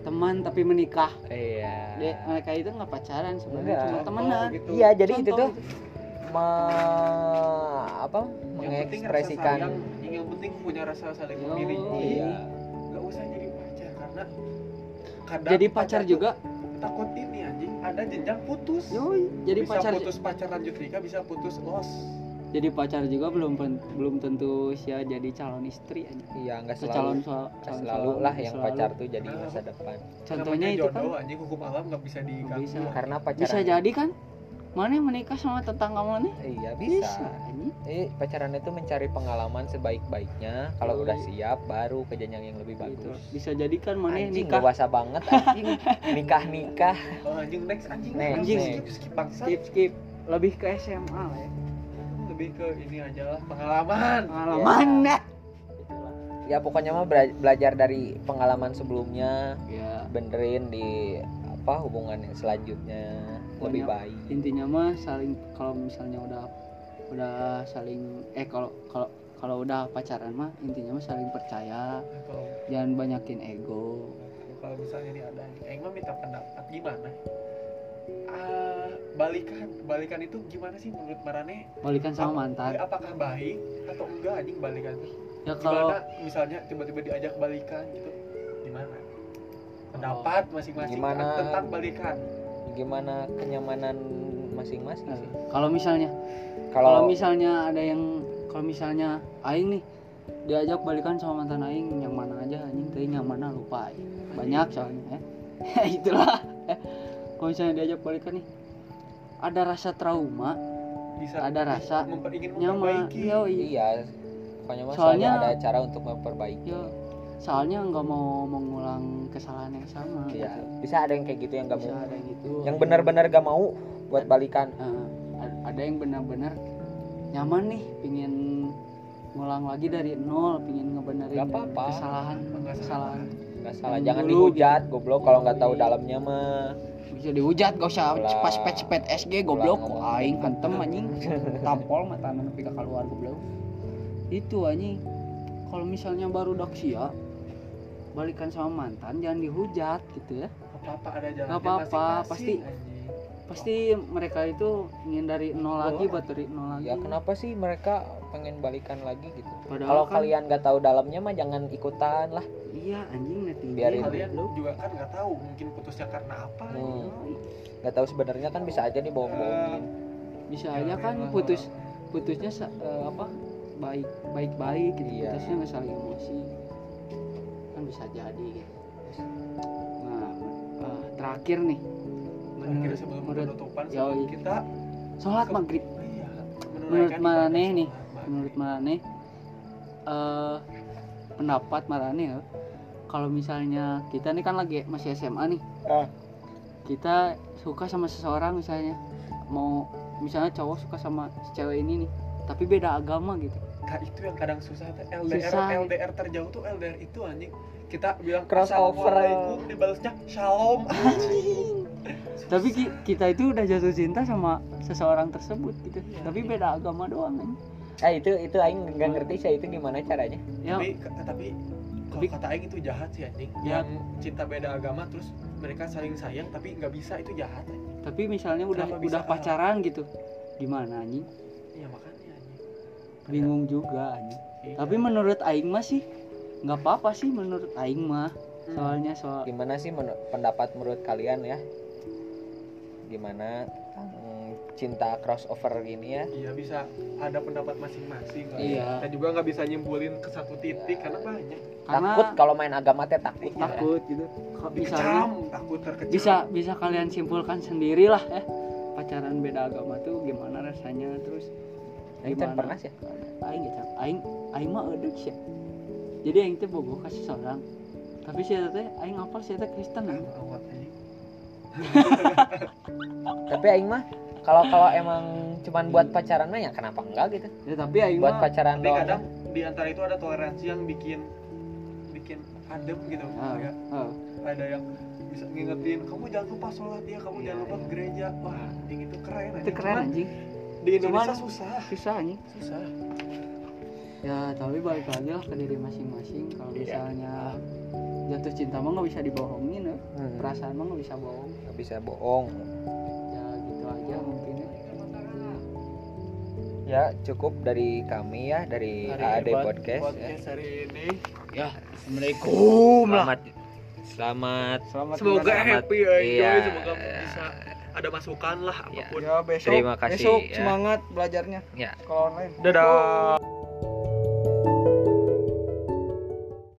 [SPEAKER 1] teman tapi menikah Dia-
[SPEAKER 2] Iya.
[SPEAKER 1] mereka itu nggak pacaran sebenarnya
[SPEAKER 2] Enggak.
[SPEAKER 1] cuma
[SPEAKER 3] Contoh
[SPEAKER 1] temenan
[SPEAKER 3] Nah. gitu.
[SPEAKER 2] Iya, jadi itu
[SPEAKER 1] Contoh
[SPEAKER 2] tuh me- apa?
[SPEAKER 3] Yang penting rasa
[SPEAKER 2] mengekspresikan
[SPEAKER 1] Iya.
[SPEAKER 3] sayang, yang, penting punya rasa saling
[SPEAKER 1] Yo.
[SPEAKER 3] memiliki
[SPEAKER 2] iya.
[SPEAKER 3] nggak usah jadi pacar karena kadang
[SPEAKER 1] jadi pacar
[SPEAKER 3] tuh
[SPEAKER 1] juga
[SPEAKER 3] takut ini anjing ada jenjang putus
[SPEAKER 1] yoi jadi
[SPEAKER 3] bisa
[SPEAKER 1] pacar
[SPEAKER 3] putus pacar lanjut nikah bisa putus los
[SPEAKER 1] jadi pacar juga belum pen- belum tentu sia jadi calon istri aja
[SPEAKER 2] Iya, enggak
[SPEAKER 1] Atau calon
[SPEAKER 2] selalu.
[SPEAKER 1] so-
[SPEAKER 2] Nggak
[SPEAKER 1] calon
[SPEAKER 2] selalu
[SPEAKER 1] suami,
[SPEAKER 2] lah yang
[SPEAKER 1] selalu.
[SPEAKER 2] pacar tuh jadi masa depan.
[SPEAKER 1] contohnya
[SPEAKER 3] Namanya
[SPEAKER 1] itu kan
[SPEAKER 3] jodoh anjing hukum alam nggak bisa diganggu
[SPEAKER 1] bisa.
[SPEAKER 2] Karena pacaran.
[SPEAKER 1] bisa jadi kan mana yang menikah sama tetangga mana
[SPEAKER 2] Iya, bisa.
[SPEAKER 1] anjing. Gitu.
[SPEAKER 2] Eh, pacaran itu mencari pengalaman sebaik-baiknya. Kalau
[SPEAKER 1] Yoi.
[SPEAKER 2] udah siap, baru ke jenjang yang lebih
[SPEAKER 1] Gitu.
[SPEAKER 2] bagus.
[SPEAKER 1] bisa jadi kan mana yang
[SPEAKER 2] Anjing
[SPEAKER 1] nikah
[SPEAKER 2] dewasa banget anjing nikah nikah
[SPEAKER 3] Oh, anjing next anjing
[SPEAKER 2] Next,
[SPEAKER 3] anjing
[SPEAKER 2] next.
[SPEAKER 3] skip skip bangsa
[SPEAKER 1] skip skip lebih ke SMA lah ya
[SPEAKER 3] lebih ke ini aja lah pengalaman
[SPEAKER 1] pengalaman ya
[SPEAKER 2] ya pokoknya mah bela- belajar dari pengalaman sebelumnya
[SPEAKER 1] ya
[SPEAKER 2] benerin di apa hubungan yang selanjutnya lebih
[SPEAKER 1] Pokoknya
[SPEAKER 2] baik
[SPEAKER 1] intinya mah saling kalau misalnya udah udah saling eh kalau kalau kalau udah pacaran mah intinya mah saling percaya
[SPEAKER 3] kalau
[SPEAKER 1] jangan banyakin ego
[SPEAKER 3] Nah, kalau misalnya ini ada Aing mah minta pendapat gimana Ah, balikan balikan itu gimana sih menurut Marane
[SPEAKER 1] balikan sama mantan
[SPEAKER 3] apakah baik atau enggak anjing balikan
[SPEAKER 2] ya kalau
[SPEAKER 3] gimana misalnya tiba-tiba diajak balikan gitu gimana pendapat
[SPEAKER 1] Oh.
[SPEAKER 3] masing-masing
[SPEAKER 2] Gimana?
[SPEAKER 3] tentang balikan
[SPEAKER 2] gimana kenyamanan masing-masing sih
[SPEAKER 1] eh, kalau misalnya kalau
[SPEAKER 2] kalau
[SPEAKER 1] misalnya ada yang kalau misalnya aing nih diajak balikan sama mantan aing yang mana aja anjing teh yang mana lupa aing. banyak soalnya eh. itulah Eh, kalau misalnya diajak balikan nih ada rasa trauma
[SPEAKER 3] bisa
[SPEAKER 1] ada rasa
[SPEAKER 3] memper, ingin
[SPEAKER 1] nyaman
[SPEAKER 3] memperbaiki
[SPEAKER 1] yo
[SPEAKER 2] iya pokoknya mah
[SPEAKER 1] Soalnya-
[SPEAKER 2] selalu ada cara untuk memperbaiki
[SPEAKER 1] yo Iya. soalnya nggak mau mengulang kesalahan yang sama
[SPEAKER 2] Iya. bisa ada yang kayak gitu yang gak
[SPEAKER 1] bisa
[SPEAKER 2] mau
[SPEAKER 1] ada gitu
[SPEAKER 2] yang benar-benar gak mau buat balikan
[SPEAKER 1] Eh, ad- ada yang benar-benar nyaman nih pingin ngulang lagi dari nol pingin ngebenerin
[SPEAKER 2] Gak apa-apa.
[SPEAKER 1] kesalahan
[SPEAKER 3] Enggak
[SPEAKER 1] kesalahan
[SPEAKER 2] nggak salah
[SPEAKER 1] Yang
[SPEAKER 2] jangan
[SPEAKER 1] dulu gitu.
[SPEAKER 2] dihujat goblok kalau nggak tahu
[SPEAKER 1] Iya.
[SPEAKER 2] dalamnya mah
[SPEAKER 1] bisa dihujat gak usah
[SPEAKER 2] Ulah.
[SPEAKER 1] pas pet pet SG goblok Kok
[SPEAKER 2] Ulah.
[SPEAKER 1] aing hantem anjing tampol mata mana pika keluar goblok itu anjing kalau misalnya baru doksia balikan sama mantan jangan dihujat gitu ya
[SPEAKER 3] apa-apa ada jalan
[SPEAKER 1] Nggak apa-apa, pasti- pasti mereka itu ingin dari nol lagi buat dari nol lagi
[SPEAKER 2] ya kenapa sih mereka pengen balikan lagi gitu
[SPEAKER 1] Padahal
[SPEAKER 2] kalau
[SPEAKER 1] kan-
[SPEAKER 2] kalian nggak tahu dalamnya mah jangan ikutan lah
[SPEAKER 1] iya anjing netizen
[SPEAKER 2] Biarin.
[SPEAKER 3] kalian
[SPEAKER 1] goblok.
[SPEAKER 3] juga kan nggak tahu mungkin putusnya karena apa
[SPEAKER 2] Hmm.
[SPEAKER 3] gitu.
[SPEAKER 2] nggak tahu sebenarnya kan bisa aja dibohong-bohongin
[SPEAKER 1] bisa
[SPEAKER 3] Ya,
[SPEAKER 1] aja kan
[SPEAKER 3] memang
[SPEAKER 1] putus
[SPEAKER 3] orang-
[SPEAKER 1] putusnya sa- eh, apa baik baik baik gitu
[SPEAKER 2] Iya.
[SPEAKER 1] putusnya nggak saling emosi kan bisa jadi gitu. nah eh, terakhir nih
[SPEAKER 3] Terakhir
[SPEAKER 1] menurut,
[SPEAKER 3] sebelum
[SPEAKER 1] menurut
[SPEAKER 3] penutupan
[SPEAKER 1] Yoi.
[SPEAKER 3] sebelum kita
[SPEAKER 1] sholat maghrib
[SPEAKER 3] iya,
[SPEAKER 1] Menurut
[SPEAKER 3] menunaikan
[SPEAKER 1] Maneh
[SPEAKER 3] ibadah
[SPEAKER 1] nih,
[SPEAKER 3] sholat
[SPEAKER 1] menurut
[SPEAKER 3] maghrib.
[SPEAKER 1] Marane eh pendapat Marane ya kalau misalnya kita nih kan lagi masih SMA nih
[SPEAKER 2] Ah.
[SPEAKER 1] kita suka sama seseorang misalnya mau misalnya cowok suka sama si cewek ini nih tapi beda agama gitu
[SPEAKER 3] Nah, itu yang kadang susah teh. LDR
[SPEAKER 1] Susah.
[SPEAKER 3] LDR terjauh tuh LDR itu anjing kita bilang
[SPEAKER 2] Crossover.
[SPEAKER 3] assalamualaikum dibalasnya shalom anjing
[SPEAKER 1] tapi ki- kita itu udah jatuh cinta sama seseorang tersebut gitu
[SPEAKER 3] Iya.
[SPEAKER 1] tapi beda agama doang kan
[SPEAKER 2] ah itu itu aing nggak ngerti sih itu gimana caranya
[SPEAKER 1] ya
[SPEAKER 3] tapi tapi kalau
[SPEAKER 1] Tapi-
[SPEAKER 3] kata Aing itu jahat sih anjing
[SPEAKER 1] Ya.
[SPEAKER 3] yang cinta beda agama terus mereka saling sayang tapi nggak bisa itu jahat anjing
[SPEAKER 1] tapi misalnya udah
[SPEAKER 3] Kenapa bisa
[SPEAKER 1] udah pacaran gitu gimana anjing
[SPEAKER 3] iya makanya anjing
[SPEAKER 1] bingung juga anjing
[SPEAKER 3] Iya.
[SPEAKER 1] Tapi menurut Aing mah sih nggak apa-apa sih menurut Aing mah
[SPEAKER 3] Hmm.
[SPEAKER 1] soalnya soal
[SPEAKER 2] gimana sih menu- pendapat menurut kalian ya gimana tentang cinta crossover gini ya
[SPEAKER 3] iya bisa ada pendapat masing-masing lah.
[SPEAKER 1] Iya.
[SPEAKER 3] kita juga nggak bisa nyimpulin ke satu titik karena banyak
[SPEAKER 1] karena
[SPEAKER 2] takut kalau main agama teh takut ya.
[SPEAKER 1] takut gitu Kalau misalnya
[SPEAKER 3] dikecam takut terkecam
[SPEAKER 1] bisa bisa kalian simpulkan sendirilah ya pacaran beda agama tuh gimana rasanya terus gimana
[SPEAKER 2] Aing kan pernah sih
[SPEAKER 1] Aing gitu Aing Aing mah edek sih jadi Aing teh bogoh kasih seorang tapi sih teh Aing apa sih teh Kristen
[SPEAKER 2] Nah.
[SPEAKER 3] Ah,
[SPEAKER 1] Aing.
[SPEAKER 3] awat, anjing.
[SPEAKER 2] tapi aing mah kalau kalau emang cuman buat pacaran mah ya kenapa enggak gitu
[SPEAKER 1] ya tapi Aing
[SPEAKER 2] buat
[SPEAKER 1] mah
[SPEAKER 2] pacaran
[SPEAKER 3] tapi kadang
[SPEAKER 2] doang ya.
[SPEAKER 3] di antara itu ada toleransi yang bikin bikin adem gitu
[SPEAKER 1] Ah,
[SPEAKER 3] Kayak
[SPEAKER 1] ah.
[SPEAKER 3] ada yang bisa ngingetin kamu jangan lupa sholat ya
[SPEAKER 2] Iya,
[SPEAKER 3] kamu jangan lupa ke gereja wah
[SPEAKER 2] Nah.
[SPEAKER 3] anjing itu keren
[SPEAKER 1] itu
[SPEAKER 3] anjing.
[SPEAKER 1] keren
[SPEAKER 3] Cuman
[SPEAKER 1] anjing
[SPEAKER 3] di Indonesia
[SPEAKER 1] Cuman-
[SPEAKER 3] susah
[SPEAKER 1] susah anjing
[SPEAKER 3] susah
[SPEAKER 1] ya tapi balik lagi lah ke diri masing-masing kalau
[SPEAKER 2] Iya.
[SPEAKER 1] misalnya jatuh cinta mah nggak bisa dibohongin ya.
[SPEAKER 2] Hmm,
[SPEAKER 1] perasaan mah nggak bisa bohong
[SPEAKER 2] nggak bisa bohong
[SPEAKER 1] ya gitu aja mungkin ya.
[SPEAKER 2] ya cukup dari kami ya dari AAD
[SPEAKER 3] buat-
[SPEAKER 2] podcast, ya.
[SPEAKER 3] podcast hari ini
[SPEAKER 5] Assalamualaikum
[SPEAKER 2] selamat selamat
[SPEAKER 5] Selamat
[SPEAKER 3] semoga
[SPEAKER 2] selamat.
[SPEAKER 3] happy ya enjoy
[SPEAKER 2] Iya.
[SPEAKER 3] semoga bisa ada masukan lah
[SPEAKER 2] Iya.
[SPEAKER 3] apapun
[SPEAKER 5] Ya besok
[SPEAKER 2] Terima kasih,
[SPEAKER 5] besok
[SPEAKER 2] ya.
[SPEAKER 5] semangat belajarnya.
[SPEAKER 2] Ya.
[SPEAKER 5] Sekolah online.
[SPEAKER 3] dadah